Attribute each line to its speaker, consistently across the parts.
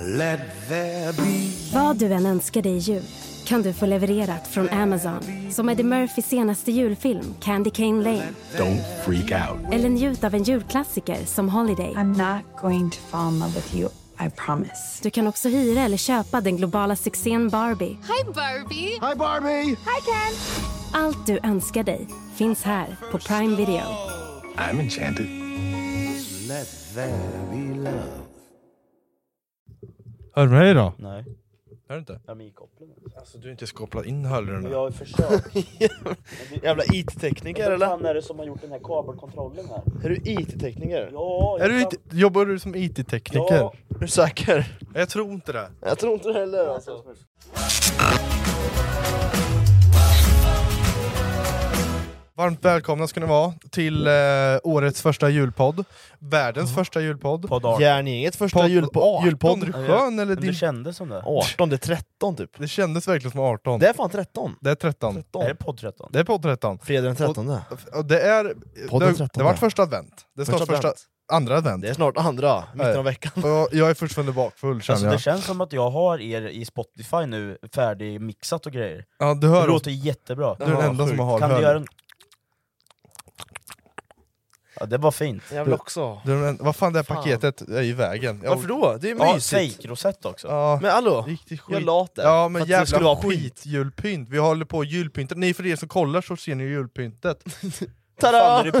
Speaker 1: Let there be
Speaker 2: Vad du än önskar dig i jul kan du få levererat från Amazon. Som Eddie Murphys senaste julfilm Candy Cane Lane.
Speaker 1: Don't freak out.
Speaker 2: Eller njut av en julklassiker som Holiday.
Speaker 3: I'm not going to fall in love with you, I promise.
Speaker 2: Du kan också hyra eller köpa den globala succén Barbie.
Speaker 4: Hi, Barbie.
Speaker 1: Hi Barbie!
Speaker 2: Allt du önskar dig finns här på Prime Video.
Speaker 1: I'm enchanted. Let there be love.
Speaker 5: Hör du mig då?
Speaker 6: Nej,
Speaker 5: Hör du inte?
Speaker 6: ja men i kopplingen.
Speaker 5: Alltså du har inte ens kopplat in hörlurarna.
Speaker 6: Jag har ju försökt.
Speaker 7: Jävla IT-tekniker
Speaker 6: Vem
Speaker 7: eller?
Speaker 6: fan är det som har gjort den här kabelkontrollen här?
Speaker 7: Är du IT-tekniker?
Speaker 6: Ja,
Speaker 5: Är du
Speaker 6: jag-
Speaker 5: it- jobbar du som IT-tekniker?
Speaker 6: Ja.
Speaker 7: Är du säker?
Speaker 5: Jag tror inte det.
Speaker 7: Jag tror inte det heller alltså.
Speaker 5: Varmt välkomna ska ni vara till eh, årets första julpodd. Världens första julpodd.
Speaker 6: Podd 18.
Speaker 7: Järngängets första
Speaker 5: Podd-
Speaker 7: julpodd.
Speaker 5: Julpodd, är du skön eller?
Speaker 6: Men det
Speaker 5: Din...
Speaker 6: kändes som det.
Speaker 7: 18, det är 13 typ.
Speaker 5: Det kändes verkligen som 18.
Speaker 7: Det är fan 13.
Speaker 5: Det är 13.
Speaker 7: 13.
Speaker 6: Är det podd 13?
Speaker 5: Det är podd 13.
Speaker 7: Fredag den 13.
Speaker 5: Och Det är...
Speaker 7: Podden
Speaker 5: det,
Speaker 7: 13,
Speaker 5: det var
Speaker 7: ja.
Speaker 5: första advent. Det är snart
Speaker 7: Första
Speaker 5: första...
Speaker 7: advent.
Speaker 5: Andra advent.
Speaker 7: Det är snart andra, mitten av veckan.
Speaker 5: Och jag är fortfarande bakfull känner
Speaker 6: Alltså, det
Speaker 5: jag.
Speaker 6: känns som att jag har er i Spotify nu, färdigmixat och grejer.
Speaker 5: Ja, du
Speaker 6: Det
Speaker 5: hör oss.
Speaker 6: låter jättebra.
Speaker 5: Du är den
Speaker 7: Ja,
Speaker 5: enda som
Speaker 7: sjukt.
Speaker 5: har
Speaker 6: Kan du
Speaker 5: hörlurar.
Speaker 6: göra en... Ja, det var fint.
Speaker 7: Jag vill också.
Speaker 5: Du är den enda- Vad fan, det här
Speaker 7: Fan.
Speaker 5: paketet är i vägen. Jag...
Speaker 7: Varför då? Det är
Speaker 6: Ja,
Speaker 7: mysigt.
Speaker 6: fejkrosett också.
Speaker 5: Ja.
Speaker 7: Men hallå,
Speaker 5: Riktigt skit.
Speaker 7: jag la det.
Speaker 5: Ja men
Speaker 7: För att det skulle
Speaker 5: jävla
Speaker 7: vara skit.
Speaker 5: skitjulpynt, vi håller på och julpyntar. Ni för er som kollar så ser ni julpyntet.
Speaker 7: Tada!
Speaker 6: Fan, är det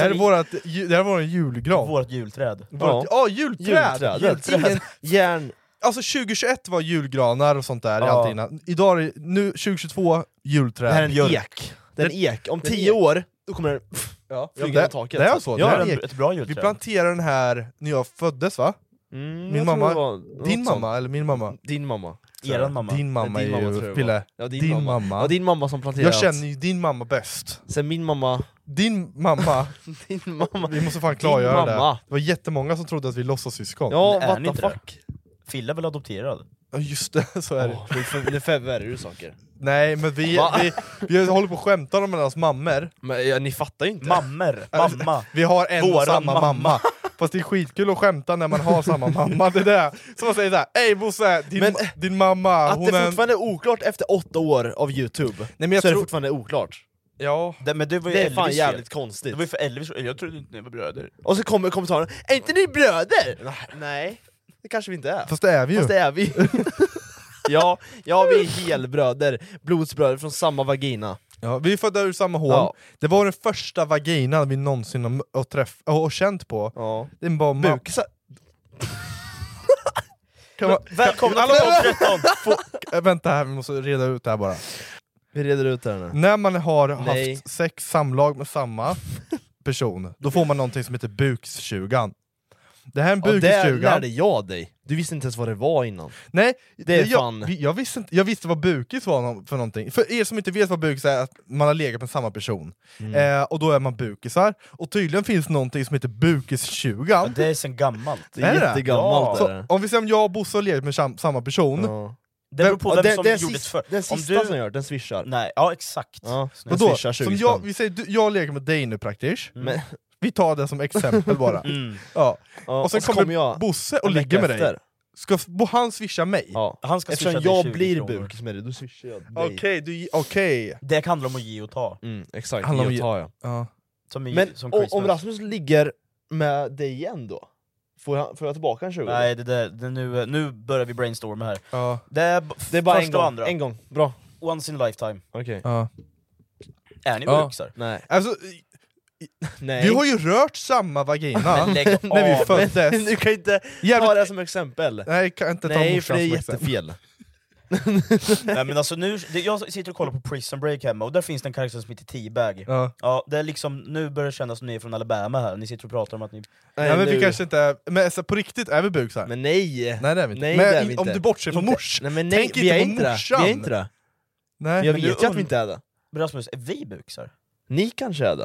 Speaker 5: Det här är
Speaker 6: i
Speaker 5: vårat, ju- det här är våran julgran.
Speaker 6: vårt julträd?
Speaker 5: Vårat- Ja, julträd!
Speaker 7: Julträd.
Speaker 5: Julträd. Ingen,
Speaker 7: Järn...
Speaker 5: alltså 2021 var julgranar och sånt där, i
Speaker 6: Ja.
Speaker 5: alltid innan. Idag är det, nu 2022, julträd.
Speaker 7: Det här är en
Speaker 6: Björk.
Speaker 7: ek. Det är en ek. Om
Speaker 5: det är en
Speaker 7: tio
Speaker 5: ek.
Speaker 7: år, då kommer den
Speaker 5: ja,
Speaker 7: flyga
Speaker 5: det,
Speaker 7: genom taket.
Speaker 5: Det är så,
Speaker 6: Ja,
Speaker 5: det
Speaker 6: det
Speaker 5: här
Speaker 6: är
Speaker 5: är
Speaker 6: en-
Speaker 5: ek.
Speaker 6: ett bra julträd.
Speaker 5: Vi planterade den här när jag föddes va?
Speaker 7: Mm,
Speaker 5: Min
Speaker 7: jag
Speaker 5: mamma-
Speaker 7: tror det var
Speaker 5: Din
Speaker 7: något
Speaker 5: mamma, eller min mamma?
Speaker 7: sånt. Din mamma.
Speaker 6: Eran mamma.
Speaker 5: Din mamma
Speaker 7: Nej, din mamma
Speaker 5: är
Speaker 7: tror
Speaker 5: ju,
Speaker 7: jag
Speaker 5: Pille,
Speaker 7: Ja, din,
Speaker 5: din
Speaker 7: mamma.
Speaker 5: mamma.
Speaker 7: Ja, din mamma som planterat.
Speaker 5: jag känner ju din mamma bäst.
Speaker 7: Sen min mamma...
Speaker 5: Din mamma,
Speaker 7: Din mamma.
Speaker 5: vi måste fan
Speaker 7: Din
Speaker 5: klargöra det.
Speaker 7: mamma.
Speaker 5: Det var jättemånga som trodde att vi låtsas syskon.
Speaker 7: Ja,
Speaker 6: Men är ni
Speaker 7: what the
Speaker 6: inte
Speaker 7: fuck.
Speaker 6: Fille är väl adopterad?
Speaker 5: Ja just det, så är det.
Speaker 7: Åh, nu för- Nu förvärrar du saker.
Speaker 5: Nej men vi,
Speaker 7: Va?
Speaker 5: vi, vi håller på och skämtar om deras mammor,
Speaker 7: Men ja, ni fattar ju inte.
Speaker 6: Mammor! Mamma!
Speaker 5: vi har en och
Speaker 6: Våran
Speaker 5: samma mamma.
Speaker 6: mamma.
Speaker 5: Fast det är skitkul att skämta när man har samma mamma, det är det. Så man säger såhär, ey Bosse, din,
Speaker 7: Men,
Speaker 5: ma- din mamma,
Speaker 7: Att
Speaker 5: hon är...
Speaker 7: det
Speaker 5: en-"
Speaker 7: fortfarande är oklart efter åtta år av youtube,
Speaker 5: Nej men jag
Speaker 7: så är det
Speaker 5: tror...
Speaker 7: fortfarande oklart.
Speaker 5: Ja.
Speaker 6: Det, men det var ju
Speaker 7: Det är
Speaker 6: Elvis
Speaker 7: fan
Speaker 6: ju.
Speaker 7: jävligt
Speaker 6: Det
Speaker 7: konstigt.
Speaker 6: var ju för Elvis, jag trodde inte ni var bröder.
Speaker 7: Och så kommer kommentaren 'Är inte ni bröder?' Nej, det kanske vi inte är.
Speaker 5: Fast det är vi ju.
Speaker 7: Fast det är vi. ja, ja, vi är helbröder. Blodsbröder från samma vagina.
Speaker 5: Ja, vi är födda ur samma hål.
Speaker 7: Ja.
Speaker 5: Det var den första vaginan vi någonsin har m- och träff- och och känt på.
Speaker 7: Ja.
Speaker 5: Det är bara ma-
Speaker 7: Buksa.
Speaker 5: kan man,
Speaker 6: Välkomna till
Speaker 5: Alla-
Speaker 6: podd 13!
Speaker 5: Äh, Vänta här, vi måste reda ut det här bara.
Speaker 7: Vi reder ut det här nu.
Speaker 5: När man har
Speaker 7: Nej.
Speaker 5: haft sex samlag med samma person, då får man någonting som heter bukstjugan. Det här är en
Speaker 7: Ja, det
Speaker 5: bukistjuga.
Speaker 7: lärde jag dig. Du visste inte ens vad det var innan.
Speaker 5: Nej,
Speaker 7: Det är
Speaker 5: jag,
Speaker 7: fan-
Speaker 5: vi- Jag, visste inte, jag visste vad bukis var nå- för någonting. För er som inte vet vad bukis är, att man har legat med samma person.
Speaker 7: Mm.
Speaker 5: Eh, och då är man bukisar. Och tydligen finns någonting som heter bukistjugan.
Speaker 6: Det är sen gammalt.
Speaker 7: Det
Speaker 5: Är
Speaker 7: är,
Speaker 5: det?
Speaker 7: jättegammalt.
Speaker 5: Så,
Speaker 7: är det.
Speaker 5: om vi säger om jag och Bosse har legat med sam- samma person,
Speaker 7: Ja.
Speaker 6: Det beror på
Speaker 7: Ja,
Speaker 6: vem
Speaker 7: den,
Speaker 6: som
Speaker 7: den
Speaker 6: gjorde det
Speaker 7: sist-
Speaker 6: för.
Speaker 7: Den
Speaker 6: Om
Speaker 7: sista som
Speaker 6: du...
Speaker 7: gör, den swishar.
Speaker 6: Nej, ja exakt.
Speaker 7: Ja. Den
Speaker 6: Snyggt.
Speaker 5: Vadå?
Speaker 7: swishar Mm. 20
Speaker 5: Som jag,
Speaker 7: spänn.
Speaker 5: vi säger, du, jag leker med dig nu praktiskt,
Speaker 7: Men,
Speaker 5: vi tar det som exempel bara.
Speaker 6: Mm.
Speaker 5: Ja.
Speaker 7: ja,
Speaker 5: Och sen kommer Bosse och
Speaker 7: en vecka
Speaker 5: ligger med dig.
Speaker 7: efter.
Speaker 5: Ska f- bo- han swisha mig?
Speaker 7: Ja.
Speaker 6: Han ska
Speaker 7: Eftersom
Speaker 6: swisha dig
Speaker 7: jag
Speaker 6: 20
Speaker 7: blir
Speaker 6: kronor.
Speaker 7: bukis med dig, då swishar jag dig.
Speaker 5: Okej, du... Okej.
Speaker 6: Det handlar om att ge och ta.
Speaker 7: Mm, exakt,
Speaker 5: Handlar om
Speaker 7: jag
Speaker 5: ge-
Speaker 7: tar jag.
Speaker 5: Ja.
Speaker 6: Som, i,
Speaker 7: Men
Speaker 6: som
Speaker 7: o-
Speaker 6: Christmas.
Speaker 7: om Rasmus ligger med dig igen då? Får jag, får jag tillbaka en 20?
Speaker 6: Nej, det där, det nu, nu börjar vi brainstorma här.
Speaker 5: Ja.
Speaker 6: Det är, b-
Speaker 7: Det är bara
Speaker 6: första
Speaker 7: en
Speaker 6: och
Speaker 7: gång.
Speaker 6: andra.
Speaker 7: En gång, bra.
Speaker 6: Once in a lifetime.
Speaker 7: Okej.
Speaker 5: ja.
Speaker 6: Är ni
Speaker 5: Ja.
Speaker 6: bukisar?
Speaker 7: Nej.
Speaker 5: Alltså,
Speaker 7: Nej.
Speaker 5: vi har ju rört samma vagina
Speaker 6: Men lägg
Speaker 5: när vi
Speaker 6: av.
Speaker 5: föddes.
Speaker 7: du kan inte ta
Speaker 5: Jävligt...
Speaker 7: det som exempel.
Speaker 5: Nej, jag kan inte ta
Speaker 7: Nej, för
Speaker 5: morsan
Speaker 7: det är
Speaker 5: som exempel.
Speaker 7: jättefel.
Speaker 6: Nej, men alltså, nu, det, jag sitter och kollar på Prison Break hemma, och där finns det en karaktär som heter T-Bag.
Speaker 5: Ja.
Speaker 6: Ja, det är liksom, nu börjar det kännas som ni är från Alabama här, ni sitter och pratar om att ni...
Speaker 5: Nej, men vi
Speaker 7: nu.
Speaker 5: kanske inte är... Men alltså, på riktigt, är vi busar?
Speaker 7: Men nej!
Speaker 5: Nej det är vi inte.
Speaker 7: Nej,
Speaker 5: men
Speaker 7: det är vi
Speaker 5: i- om
Speaker 7: inte.
Speaker 5: du bortser från
Speaker 7: Inte-
Speaker 5: mors...
Speaker 7: Nej men nej,
Speaker 5: Tänk
Speaker 7: vi
Speaker 5: inte
Speaker 7: är
Speaker 5: på
Speaker 7: inte det.
Speaker 5: morsan.
Speaker 7: Vi är inte det.
Speaker 5: Nej.
Speaker 7: Men jag
Speaker 6: men
Speaker 7: vet
Speaker 6: du
Speaker 7: ju att vi inte är det.
Speaker 6: Rasmus, är vi bukisar?
Speaker 7: Ni kanske är det.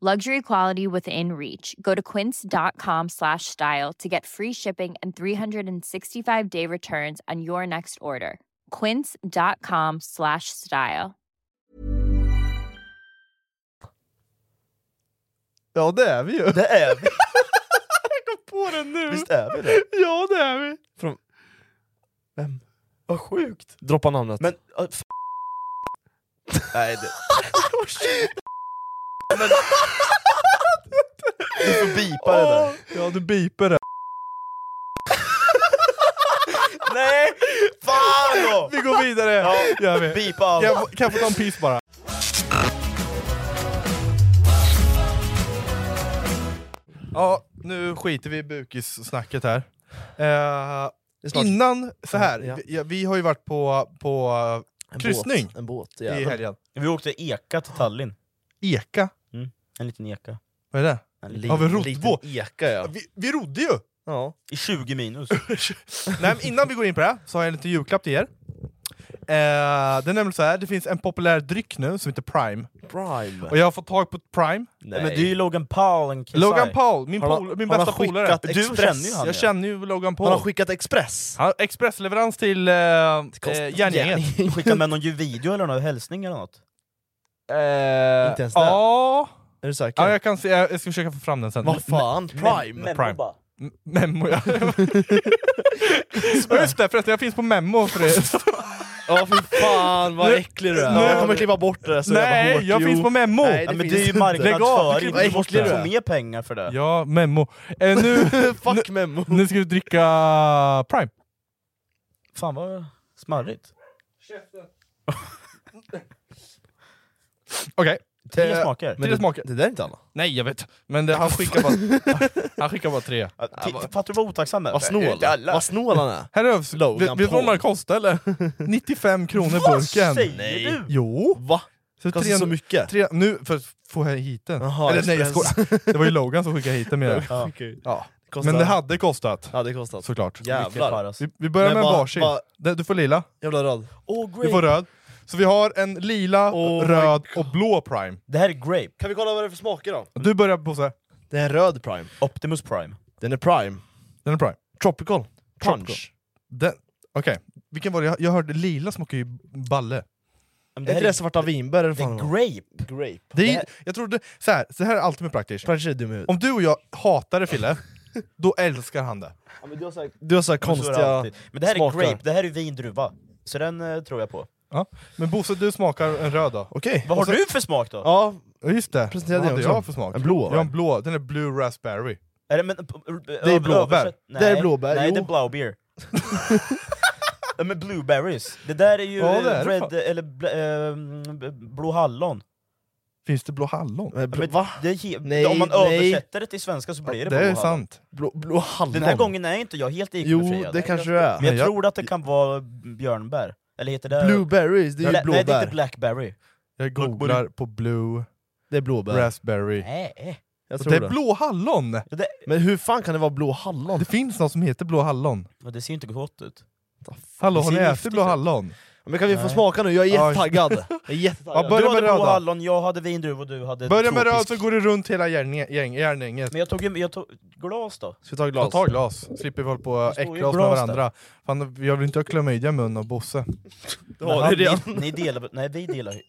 Speaker 6: Luxury quality within reach. Go to quince.com slash style to get free shipping and 365 day returns on your next order. Quince.com slash style.
Speaker 5: Ja det är vi ju!
Speaker 8: Det är vi!
Speaker 5: Jag kom på den nu!
Speaker 8: Visst är vi det?
Speaker 5: Ja det är vi!
Speaker 8: Från... Vem?
Speaker 7: Vad sjukt!
Speaker 8: Droppa namnet.
Speaker 7: Men... Uh, f- Nej, det... Men... Du får bipa det där.
Speaker 5: Ja du biper det.
Speaker 7: Nej! Fan då!
Speaker 5: Vi går vidare!
Speaker 7: Ja,
Speaker 5: Gör vi.
Speaker 7: Bipa allt.
Speaker 5: Kan jag, få- kan jag få ta en piss bara? Ja, nu skiter vi i bukissnacket här. Eh,
Speaker 8: Det är snart-
Speaker 5: Innan, så här,
Speaker 8: Ja.
Speaker 5: vi, ja, vi har ju varit på, på
Speaker 8: En
Speaker 5: kryssning
Speaker 8: Båt, en båt,
Speaker 5: i
Speaker 8: jävlar.
Speaker 5: helgen.
Speaker 7: Vi åkte eka till Tallinn.
Speaker 5: Eka?
Speaker 7: En liten eka.
Speaker 5: Vad är det?
Speaker 7: En
Speaker 8: Li-
Speaker 7: liten.
Speaker 5: Har vi
Speaker 8: en
Speaker 5: rotbåt?
Speaker 8: Liten eka ja.
Speaker 5: Vi, vi rodde ju!
Speaker 8: ja.
Speaker 7: I 20 minus.
Speaker 5: Nej, men innan vi går in på det här så har jag en liten julklapp till er. Eh, det är nämligen så här, det finns en populär dryck nu som heter Prime,
Speaker 8: Prime.
Speaker 5: och jag har fått tag på Prime.
Speaker 8: Nej.
Speaker 7: Men det är ju Logan Paul and Kesai.
Speaker 5: Logan Paul, min,
Speaker 8: Har han-
Speaker 5: pol- min
Speaker 8: har han
Speaker 5: bästa polare.
Speaker 8: skickat
Speaker 7: Du
Speaker 8: Express.
Speaker 7: känner ju han
Speaker 5: Jag
Speaker 7: ja.
Speaker 5: känner ju Logan Paul.
Speaker 8: Han har skickat Express.
Speaker 5: Ja, expressleverans till eh,
Speaker 8: Kost-
Speaker 5: eh, Järngänget.
Speaker 8: Järngänget.
Speaker 7: Skickade med någon ju video eller någon hälsning eller något?
Speaker 8: Eh, Inte ens det?
Speaker 5: Ja,
Speaker 8: Är du säker?
Speaker 5: ja jag, kan se, jag jag ska försöka få fram den sen.
Speaker 8: Vad fan? Prime?
Speaker 5: Memo Prime. M- Memo, ja. Ja, Just det, förresten, jag finns på Memo för det.
Speaker 8: Ja fy fan vad
Speaker 5: Nu-
Speaker 8: äcklig du är.
Speaker 5: nu-
Speaker 8: Jag kommer klippa bort det där så
Speaker 5: Nej,
Speaker 8: jävla
Speaker 5: jag,
Speaker 8: hårt.
Speaker 5: finns på Memo!
Speaker 8: Nej,
Speaker 7: Ja,
Speaker 8: det
Speaker 7: men
Speaker 8: finns
Speaker 7: det är ju
Speaker 8: inte.
Speaker 5: Lägg av,
Speaker 7: marknadsföring,
Speaker 5: vad
Speaker 7: du måste
Speaker 8: äcklig du
Speaker 7: få
Speaker 8: är.
Speaker 7: mer pengar för det.
Speaker 5: Ja, Memo. Eh, nu,
Speaker 8: Fuck Memo.
Speaker 5: nu ska vi dricka Prime.
Speaker 7: Fan vad smarrigt.
Speaker 5: Okej.
Speaker 7: Tre
Speaker 5: Eh,
Speaker 7: smaker.
Speaker 5: Tre smaker.
Speaker 8: Det där är inte Anna.
Speaker 5: Nej, jag vet. Men det, han, skickar bara, han skickar bara tre.
Speaker 7: Ja, ti- Fattar du vad otacksam jag är?
Speaker 8: Vad
Speaker 7: Det är
Speaker 8: snål.
Speaker 7: inte alla.
Speaker 8: Vad snål han är.
Speaker 5: Här är Vet
Speaker 8: Logan
Speaker 5: vet du vad
Speaker 8: Paul.
Speaker 5: de här kostar eller? 95 kronor
Speaker 7: Vad
Speaker 5: burken.
Speaker 7: säger
Speaker 8: Nej.
Speaker 7: du?
Speaker 5: Jo!
Speaker 8: Va? Kostar så mycket?
Speaker 5: Tre, nu, för att få hit den.
Speaker 8: Jaha,
Speaker 5: Eller nej, jag
Speaker 8: Express.
Speaker 5: skojar. Det var ju Logan som skickade hit den menar jag.
Speaker 8: Ja.
Speaker 5: Ja.
Speaker 8: Kostar-
Speaker 5: Men det hade kostat,
Speaker 8: Ja det kostar. alltså.
Speaker 5: såklart.
Speaker 7: Vilket
Speaker 8: Jävlar.
Speaker 7: paras.
Speaker 5: Vi, vi börjar
Speaker 8: Men
Speaker 5: med en
Speaker 8: vad-
Speaker 5: varsin.
Speaker 8: vad-
Speaker 5: Det- Du får lila,
Speaker 8: Jävla rad. Oh,
Speaker 5: du får röd. Så vi har en lila,
Speaker 8: Oh my
Speaker 5: röd och blå Prime.
Speaker 7: Det här är grape.
Speaker 8: Kan vi kolla vad det är för smaker då?
Speaker 5: Du börjar på så här.
Speaker 8: Det är en röd Prime.
Speaker 7: Optimus Prime.
Speaker 8: Den är Prime.
Speaker 5: den är Prime.
Speaker 8: Tropical.
Speaker 5: Tropical.
Speaker 8: Punch.
Speaker 5: Den- Okej, vilken var det? Jag, jag hörde lila smakar ju balle.
Speaker 7: Men
Speaker 8: Är
Speaker 7: Det
Speaker 8: inte
Speaker 7: här
Speaker 8: det
Speaker 7: är,
Speaker 8: svarta vinbär eller
Speaker 7: det
Speaker 8: fan?
Speaker 7: är
Speaker 8: det var?
Speaker 7: grape.
Speaker 8: Grape.
Speaker 5: Det är, jag trodde, så här, så här är alltid med praktiskt.
Speaker 8: Prime ser dum ut.
Speaker 5: Om du och jag hatar det Fille, då älskar han det.
Speaker 7: men du har sagt
Speaker 8: Du har så här
Speaker 7: så är det
Speaker 8: konstiga...
Speaker 7: alltid. Men det här
Speaker 8: smaker.
Speaker 7: är grape, det här är vindruva. Så den eh, tror jag på.
Speaker 5: Ja. Men Bosse, du smakar en röd då?
Speaker 8: Okej.
Speaker 7: Vad har du för smak då?
Speaker 8: Ja,
Speaker 5: Ja just det,
Speaker 8: Presenterade
Speaker 5: vad
Speaker 8: jag
Speaker 5: hade
Speaker 8: också.
Speaker 5: jag för smak?
Speaker 8: En blå,
Speaker 5: Jag har en blå, den är blue raspberry.
Speaker 7: Är det, men, det
Speaker 8: är blåbär.
Speaker 7: Nej,
Speaker 8: Det är blåbär,
Speaker 7: Nej,
Speaker 8: jo.
Speaker 7: det är blaubeer. ja, men blueberries. Det där är ju
Speaker 5: Ja, det
Speaker 7: eh,
Speaker 5: är det
Speaker 7: red,
Speaker 5: fan.
Speaker 7: eller bl- ehm, b- blå hallon.
Speaker 5: Finns det blå hallon?
Speaker 8: men,
Speaker 7: Ja, men
Speaker 8: va?
Speaker 7: Det, är he-
Speaker 8: Nej,
Speaker 7: om man
Speaker 8: nej.
Speaker 7: översätter det till svenska så blir det,
Speaker 5: Det
Speaker 7: blå
Speaker 5: är
Speaker 7: hallon.
Speaker 5: sant.
Speaker 8: Blå, blå hallon?
Speaker 7: Den här gången är inte jag helt
Speaker 8: Jo,
Speaker 7: IQ-befriad.
Speaker 8: det kanske du är.
Speaker 7: Men jag,
Speaker 5: Nej, jag-
Speaker 7: tror att det kan vara björnbär. Eller heter det...
Speaker 8: Blueberries, Eh, det är ju
Speaker 7: Bla- Nej, det är inte
Speaker 8: blåbär.
Speaker 7: blackberry.
Speaker 5: Jag googlar på blue
Speaker 8: Det är blåbär.
Speaker 5: raspberry.
Speaker 7: Nej.
Speaker 8: Jag tror
Speaker 5: Det
Speaker 8: det.
Speaker 5: är blå hallon!
Speaker 7: Ja, Det,
Speaker 8: Men hur fan kan det vara blå hallon?
Speaker 5: Det finns något som heter blå hallon.
Speaker 7: ja, det ser ju inte gott ut.
Speaker 5: Hallå,
Speaker 7: Det
Speaker 5: har ni
Speaker 7: ser
Speaker 5: ätit
Speaker 7: giftigt
Speaker 5: blå
Speaker 7: ut.
Speaker 5: hallon?
Speaker 8: Men kan vi få smaka nu? Jag är
Speaker 5: Oj.
Speaker 8: jättetaggad. Jag är jättetaggad.
Speaker 5: Ja, börja
Speaker 7: du hade
Speaker 5: med
Speaker 7: blå
Speaker 5: röda.
Speaker 7: hallon, jag hade vindruv och du hade
Speaker 5: Börja med röd
Speaker 7: tropisk.
Speaker 5: så går det runt hela järnge- gäng- järngänget.
Speaker 7: Men jag tog, ju- jag tog glas då.
Speaker 8: Ska vi ta
Speaker 5: Ja, ta glas. Slipper vi hålla på och
Speaker 7: står ju
Speaker 5: äckla oss med
Speaker 7: glas där.
Speaker 5: varandra. Fan, jag vill inte ha klamydia i munnen av Bosse.
Speaker 7: Men han- ni, ni delar, nej vi delar ju.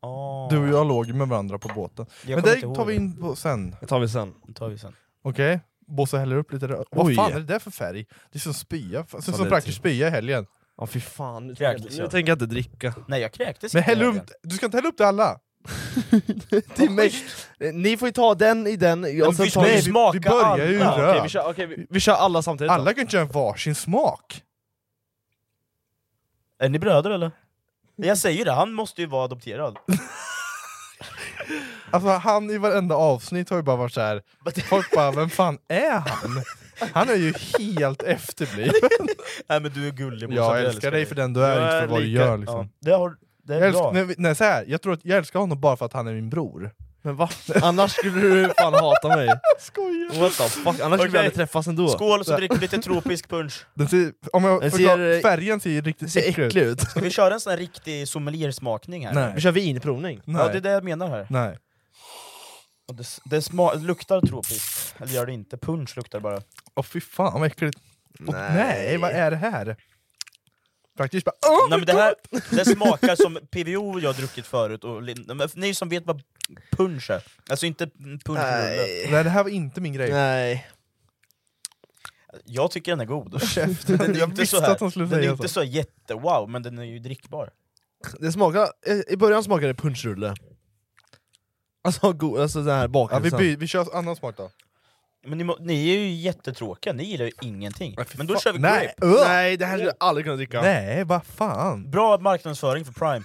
Speaker 7: Ah.
Speaker 5: Du och jag låg ju med varandra på båten.
Speaker 7: Jag
Speaker 5: Men
Speaker 7: kommer
Speaker 5: det
Speaker 7: inte ihåg
Speaker 5: tar vi
Speaker 7: det.
Speaker 5: in på sen.
Speaker 8: Det tar vi sen.
Speaker 7: Det tar vi sen.
Speaker 5: Okej? Bosse häller upp lite röd. Vad
Speaker 8: Oj.
Speaker 5: fan är det där för färg? Det är som spya. Fan, Det
Speaker 8: Fan,
Speaker 5: är som
Speaker 8: det-
Speaker 5: praktiskt spya i helgen.
Speaker 8: Ja fy fan, nu,
Speaker 7: Kräktes
Speaker 8: nu
Speaker 7: jag.
Speaker 8: tänker jag inte dricka.
Speaker 7: Nej jag kräktes
Speaker 5: Men
Speaker 7: inte
Speaker 5: häll
Speaker 7: i
Speaker 5: upp,
Speaker 7: helgen.
Speaker 5: du ska inte hälla upp till alla!
Speaker 8: Till mig. Ni får ju ta den i den, och
Speaker 7: Men
Speaker 8: sen
Speaker 7: vi
Speaker 8: tar
Speaker 7: ska ju
Speaker 8: vi-
Speaker 7: smaka
Speaker 5: Alltså, vi börjar ju
Speaker 7: alla.
Speaker 5: röd.
Speaker 8: Okej, vi kör, okej, vi, vi kör alla samtidigt
Speaker 5: Alla
Speaker 8: då.
Speaker 5: kan ju inte köra varsin smak!
Speaker 7: Är ni bröder eller?
Speaker 5: Mm.
Speaker 7: Jag säger ju det, han måste ju vara adopterad.
Speaker 5: Alltså han i varenda avsnitt har ju bara varit så här. folk bara 'Vem fan är han?' Han är ju helt efterbliven!
Speaker 7: Nej men du är gullig
Speaker 5: Ja, jag älskar dig för den du är, inte för vad du gör, liksom.
Speaker 7: Det, har, det är
Speaker 5: Jag, älsk-
Speaker 7: bra.
Speaker 5: nej, nej, så här, jag tror att jag älskar honom bara för att han är min bror.
Speaker 8: Men va? Annars skulle du fan hata mig.
Speaker 5: Skojar!
Speaker 8: What the fuck? Annars skulle vi
Speaker 7: Okej.
Speaker 8: aldrig träffas ändå.
Speaker 7: Skål så dricker vi lite tropisk punch.
Speaker 5: Den ser, om jag
Speaker 8: Den
Speaker 5: förklarar,
Speaker 8: ser-
Speaker 5: färgen ser ju riktigt
Speaker 8: ser
Speaker 5: äcklig ut.
Speaker 8: äcklig ut.
Speaker 7: Ska vi köra en sån här riktig sommeliersmakning här?
Speaker 5: Nej.
Speaker 8: Vi kör vinprovning.
Speaker 5: Nej.
Speaker 7: Ja det är det jag menar här.
Speaker 5: nej.
Speaker 7: Och Det, s- det sma- luktar tropiskt, eller gör det inte. Punch luktar bara.
Speaker 5: Åh fy fan vad äckligt. Åh, nej. vad är det här? Faktiskt bara oh
Speaker 7: Nej,
Speaker 5: my
Speaker 7: men det här
Speaker 5: God!
Speaker 7: det smakar som PVO jag har druckit förut, och, li- men ni som vet vad punsch är, alltså inte punschrulle.
Speaker 5: Nej det här var inte min grej.
Speaker 8: Nej.
Speaker 7: Jag tycker den är god.
Speaker 5: Käften.
Speaker 7: Den är ju
Speaker 5: Jag
Speaker 7: inte
Speaker 5: visste
Speaker 7: så här-
Speaker 5: att de skulle
Speaker 7: Den är
Speaker 5: säga
Speaker 7: ju inte så jättewow, men den är ju drickbar.
Speaker 8: Det smakar, I början smakade det punschrulle. Alltså, go, alltså den här
Speaker 5: Ja, vi,
Speaker 8: bakelsen.
Speaker 5: by, vi kör annan smak då.
Speaker 7: Men ni, må- ni är ju jättetråkiga, ni gillar ju ingenting. Men då
Speaker 5: fan.
Speaker 7: kör vi
Speaker 5: Nej.
Speaker 7: grape.
Speaker 5: Ugh.
Speaker 8: Nej, det här skulle jag aldrig kunna dricka.
Speaker 5: Nej, vad fan.
Speaker 7: Bra marknadsföring för Prime.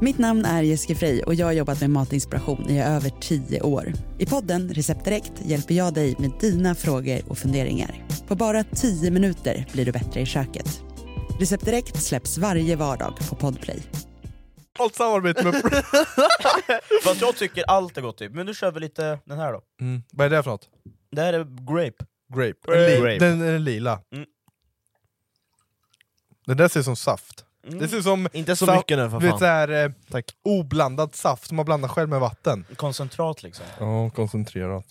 Speaker 9: Mitt namn är Jessica Frey och jag har jobbat med matinspiration i över 10 år. I podden Recept Direkt hjälper jag dig med dina frågor och funderingar. På bara 10 minuter blir du bättre i köket. Recept Direkt släpps varje vardag på Podplay.
Speaker 5: Allt samarbete med...
Speaker 7: Fast jag tycker allt är gott typ. Men nu kör vi lite den här då.
Speaker 5: mm. Vad är det för något?
Speaker 7: Det här är grape.
Speaker 5: Grape.
Speaker 7: Grape.
Speaker 5: Li-
Speaker 7: Grape.
Speaker 5: Den är lila.
Speaker 7: Mm.
Speaker 5: Den där ser ut som saft. Det ser ut som...
Speaker 8: Inte så
Speaker 5: sa-
Speaker 8: mycket nu, för
Speaker 5: du vet,
Speaker 8: fan.
Speaker 5: så här, eh, Oblandad saft som man blandar själv med vatten.
Speaker 7: Koncentrat liksom.
Speaker 5: Ja, koncentrerat.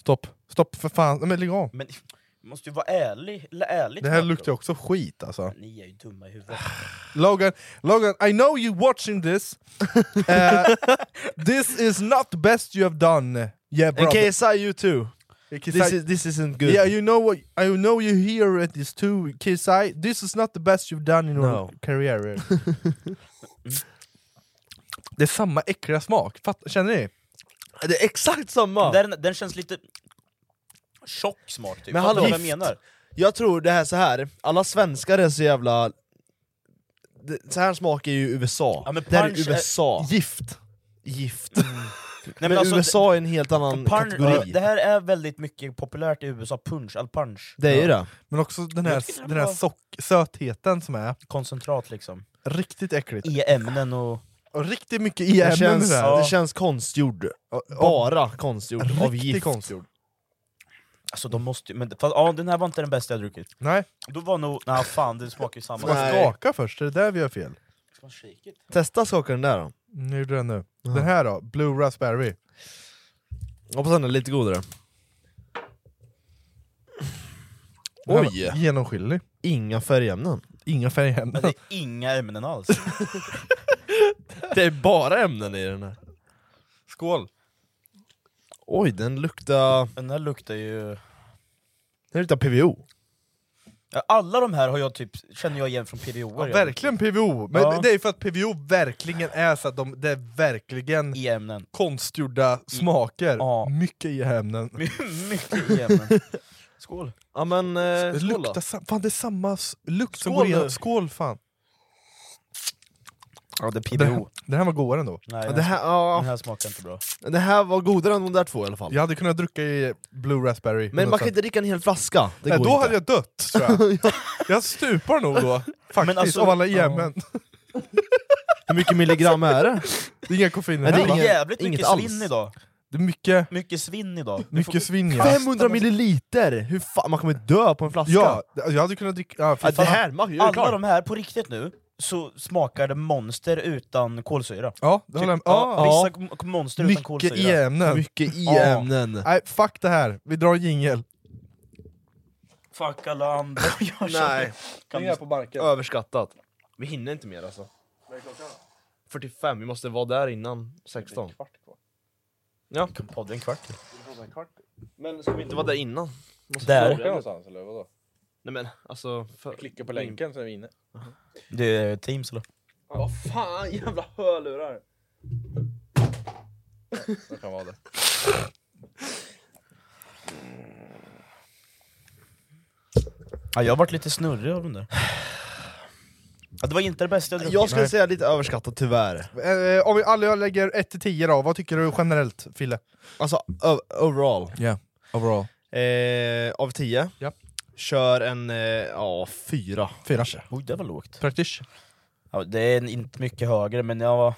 Speaker 5: Stopp, stopp för fan. Nej, men lägg av.
Speaker 7: Men du måste ju vara ärlig. eller Ärligt
Speaker 5: Det här
Speaker 7: med
Speaker 5: luktar ju också Ah, skit alltså.
Speaker 7: det. Ni är ju dumma i huvudet.
Speaker 5: Logan, Logan, I know you watching this. Eh, this is not the best you have done. Yeah,
Speaker 8: And
Speaker 5: brother.
Speaker 8: KSI you too. This, is, this isn't good.
Speaker 5: Yeah, you know what? I know you hear it is too, KSI. This is not the best you've done in your
Speaker 8: No.
Speaker 5: career. det är samma äckliga smak, Fatt, känner ni?
Speaker 8: Det är exakt samma!
Speaker 7: Den, den känns lite tjock smak typ.
Speaker 8: Men
Speaker 7: Fattar
Speaker 8: hallå,
Speaker 7: du vad jag
Speaker 8: gift.
Speaker 7: menar?
Speaker 8: Jag tror det här så här. alla svenskar är så jävla... Det, så här smakar ju USA.
Speaker 7: Ja, men
Speaker 8: det här är
Speaker 7: punch är-
Speaker 8: USA.
Speaker 5: Gift.
Speaker 8: Gift. men
Speaker 7: men alltså,
Speaker 8: USA är en helt annan
Speaker 7: Punch,
Speaker 8: kategori.
Speaker 7: det här är väldigt mycket populärt i USA, punch, all punch.
Speaker 8: Det är ju det.
Speaker 5: Men också den
Speaker 7: Jag
Speaker 5: här,
Speaker 7: tycker den
Speaker 5: den här
Speaker 7: var-
Speaker 5: sock- sötheten som är
Speaker 7: Koncentrat liksom.
Speaker 5: riktigt äckligt.
Speaker 7: I ämnen och...
Speaker 5: Och riktigt mycket i
Speaker 8: Det
Speaker 5: ämnen i
Speaker 8: känns,
Speaker 5: det här.
Speaker 8: det känns konstgjord.
Speaker 5: ja.
Speaker 8: Bara konstgjord av
Speaker 5: Riktigt
Speaker 8: gift.
Speaker 5: konstgjord.
Speaker 7: Alltså de måste ju... men- Fast ja, den här var inte den bästa jag druckit.
Speaker 5: Nej,
Speaker 7: Då var nog... Nej fan, det smakar ju samma.
Speaker 5: ska man skaka först? Är det där vi gör fel?
Speaker 7: Ska man shake it?
Speaker 8: Testa skaka den där då.
Speaker 5: Nu gjorde den nu. Den här då? Blue Raspberry.
Speaker 8: Hoppas den är lite godare.
Speaker 5: Den här
Speaker 8: Oj.
Speaker 5: var Genomskinlig.
Speaker 8: Inga färgämnen.
Speaker 5: Inga
Speaker 7: Men
Speaker 5: färgämnen.
Speaker 7: det är inga ämnen alls.
Speaker 8: Det är bara ämnen i den här.
Speaker 5: Skål!
Speaker 8: Oj, den luktar...
Speaker 7: Den här luktar ju...
Speaker 8: Den luktar PVO.
Speaker 7: Ja, Alla de här har jag typ, känner jag igen från PVO.
Speaker 5: Ja, verkligen PVO! Men
Speaker 7: Ja.
Speaker 5: det är för att PVO verkligen är så att de, det är verkligen
Speaker 7: I ämnen.
Speaker 5: konstgjorda smaker.
Speaker 7: Ja.
Speaker 5: Mycket i ämnen.
Speaker 7: Mycket i ämnen. Skål.
Speaker 8: Ja men, eh,
Speaker 5: Det
Speaker 8: skål då.
Speaker 5: luktar sam- fan det är samma s- lukt som
Speaker 8: Skål
Speaker 5: går igenom...
Speaker 8: nu.
Speaker 5: Skål fan!
Speaker 7: Ja, det är
Speaker 5: Den
Speaker 7: PBO.
Speaker 5: här, den här var godare ändå.
Speaker 7: Nej,
Speaker 5: Ja,
Speaker 7: den,
Speaker 5: det
Speaker 7: här,
Speaker 5: här-
Speaker 7: sm-
Speaker 5: ja.
Speaker 7: den här smakar inte bra.
Speaker 8: Det här var godare än de där två i alla fall.
Speaker 5: Jag hade kunnat dricka i Blue Raspberry.
Speaker 8: Men man kan
Speaker 5: 100%.
Speaker 8: inte dricka en hel flaska. Det
Speaker 5: Nej,
Speaker 8: går
Speaker 5: då
Speaker 8: inte.
Speaker 5: hade jag dött tror jag. jag stupar nog då, faktiskt,
Speaker 8: alltså-
Speaker 5: av alla
Speaker 8: ja.
Speaker 5: jämmen.
Speaker 8: Hur mycket milligram är det?
Speaker 5: Det är inga koffeiner.
Speaker 7: Men det är
Speaker 5: alls.
Speaker 7: jävligt mycket svinn idag.
Speaker 5: Det är mycket,
Speaker 7: Mycket svinn idag. Du får-
Speaker 5: mycket svinn ja.
Speaker 8: 500 milliliter! Hur fan, man kommer dö på en flaska!
Speaker 5: Ja, jag hade kunnat dricka... Ja, fy
Speaker 8: Ja, det
Speaker 5: fan.
Speaker 8: här, man,
Speaker 7: Alla de här, på riktigt nu, så smakar det monster utan kolsyra.
Speaker 5: Ja, det
Speaker 8: Typ,
Speaker 5: håller jag med.
Speaker 7: ja,
Speaker 5: Ja.
Speaker 7: Vissa kom- monster utan
Speaker 5: Mycket
Speaker 7: kolsyra.
Speaker 5: i ämnen.
Speaker 8: Mycket i
Speaker 5: Ja.
Speaker 8: ämnen.
Speaker 5: Nej, fuck det här. Vi drar en jingel.
Speaker 7: Fuck alla andra. Jag känner-
Speaker 8: Nej.
Speaker 7: Kan
Speaker 8: Pengar
Speaker 7: du...
Speaker 8: på marken. Överskattat. Vi hinner inte mer alltså. 45, vi måste vara där innan 16. Ja. Vi kan podda en kvart till. Men ska vi inte vara där innan? Måste
Speaker 7: Där.
Speaker 8: vi börja nu?
Speaker 5: någonstans eller vadå?
Speaker 8: Nej men alltså... För...
Speaker 5: Klicka på länken så är vi inne.
Speaker 7: Det är Teams eller?
Speaker 8: Vad fan, jävla hörlurar!
Speaker 5: Det kan vara det.
Speaker 7: Ja, jag har varit lite snurrig av den där. Ja, det var inte det bästa jag druckit.
Speaker 8: Jag skulle
Speaker 7: Nej.
Speaker 8: säga lite överskattat tyvärr.
Speaker 5: Eh, om vi alla lägger 1-10 då, vad tycker du generellt Fille?
Speaker 8: Alltså o- overall.
Speaker 5: Ja, overall.
Speaker 8: Eh, av 10.
Speaker 5: Ja.
Speaker 8: Kör en, eh, ja, 4.
Speaker 5: Fyra.
Speaker 7: Oj, det var lågt.
Speaker 5: Praktiskt.
Speaker 7: Ja, det är inte mycket högre, men jag var...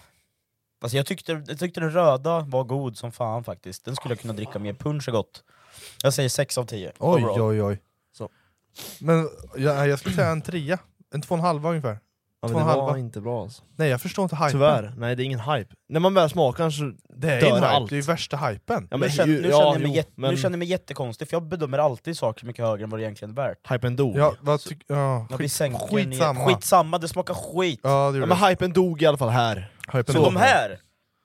Speaker 7: Alltså jag, tyckte, jag tyckte den röda var god som fan faktiskt. Den skulle jag kunna dricka mer. Punsch är gott. Jag säger 6 av 10.
Speaker 5: Oj,
Speaker 7: overall.
Speaker 5: oj, oj.
Speaker 8: Så.
Speaker 5: Men jag, jag skulle säga en trea. En två och en halva ungefär.
Speaker 8: Ja,
Speaker 5: två
Speaker 8: men
Speaker 5: och
Speaker 8: det
Speaker 5: en
Speaker 8: var
Speaker 5: halva.
Speaker 8: inte bra alltså.
Speaker 5: Nej, jag förstår inte hypen.
Speaker 8: Tyvärr, nej det är ingen hype. När man väl smakar så
Speaker 5: Det är
Speaker 8: dör
Speaker 5: ju en hype.
Speaker 8: allt.
Speaker 5: Det är ju värsta hypen.
Speaker 8: Ja,
Speaker 7: nu,
Speaker 8: men
Speaker 7: känner,
Speaker 8: ju-
Speaker 7: nu,
Speaker 8: ja,
Speaker 7: känner jag mig
Speaker 8: jo,
Speaker 7: jätte,
Speaker 8: men-
Speaker 7: nu känner jag mig jättekonstig, för jag bedömer alltid saker mycket högre än vad det egentligen är värt.
Speaker 8: Hypen dog.
Speaker 5: Ja, vad tyck- ja,
Speaker 7: Jag
Speaker 5: skit-
Speaker 7: blir sänker
Speaker 5: skitsamma.
Speaker 7: Ner. Skitsamma, det smakar skit!
Speaker 5: Ja, det
Speaker 8: Ja,
Speaker 5: gjorde
Speaker 8: men
Speaker 5: det.
Speaker 8: hypen dog i alla fall här.
Speaker 5: Hypen
Speaker 7: Så
Speaker 5: då.
Speaker 7: de här,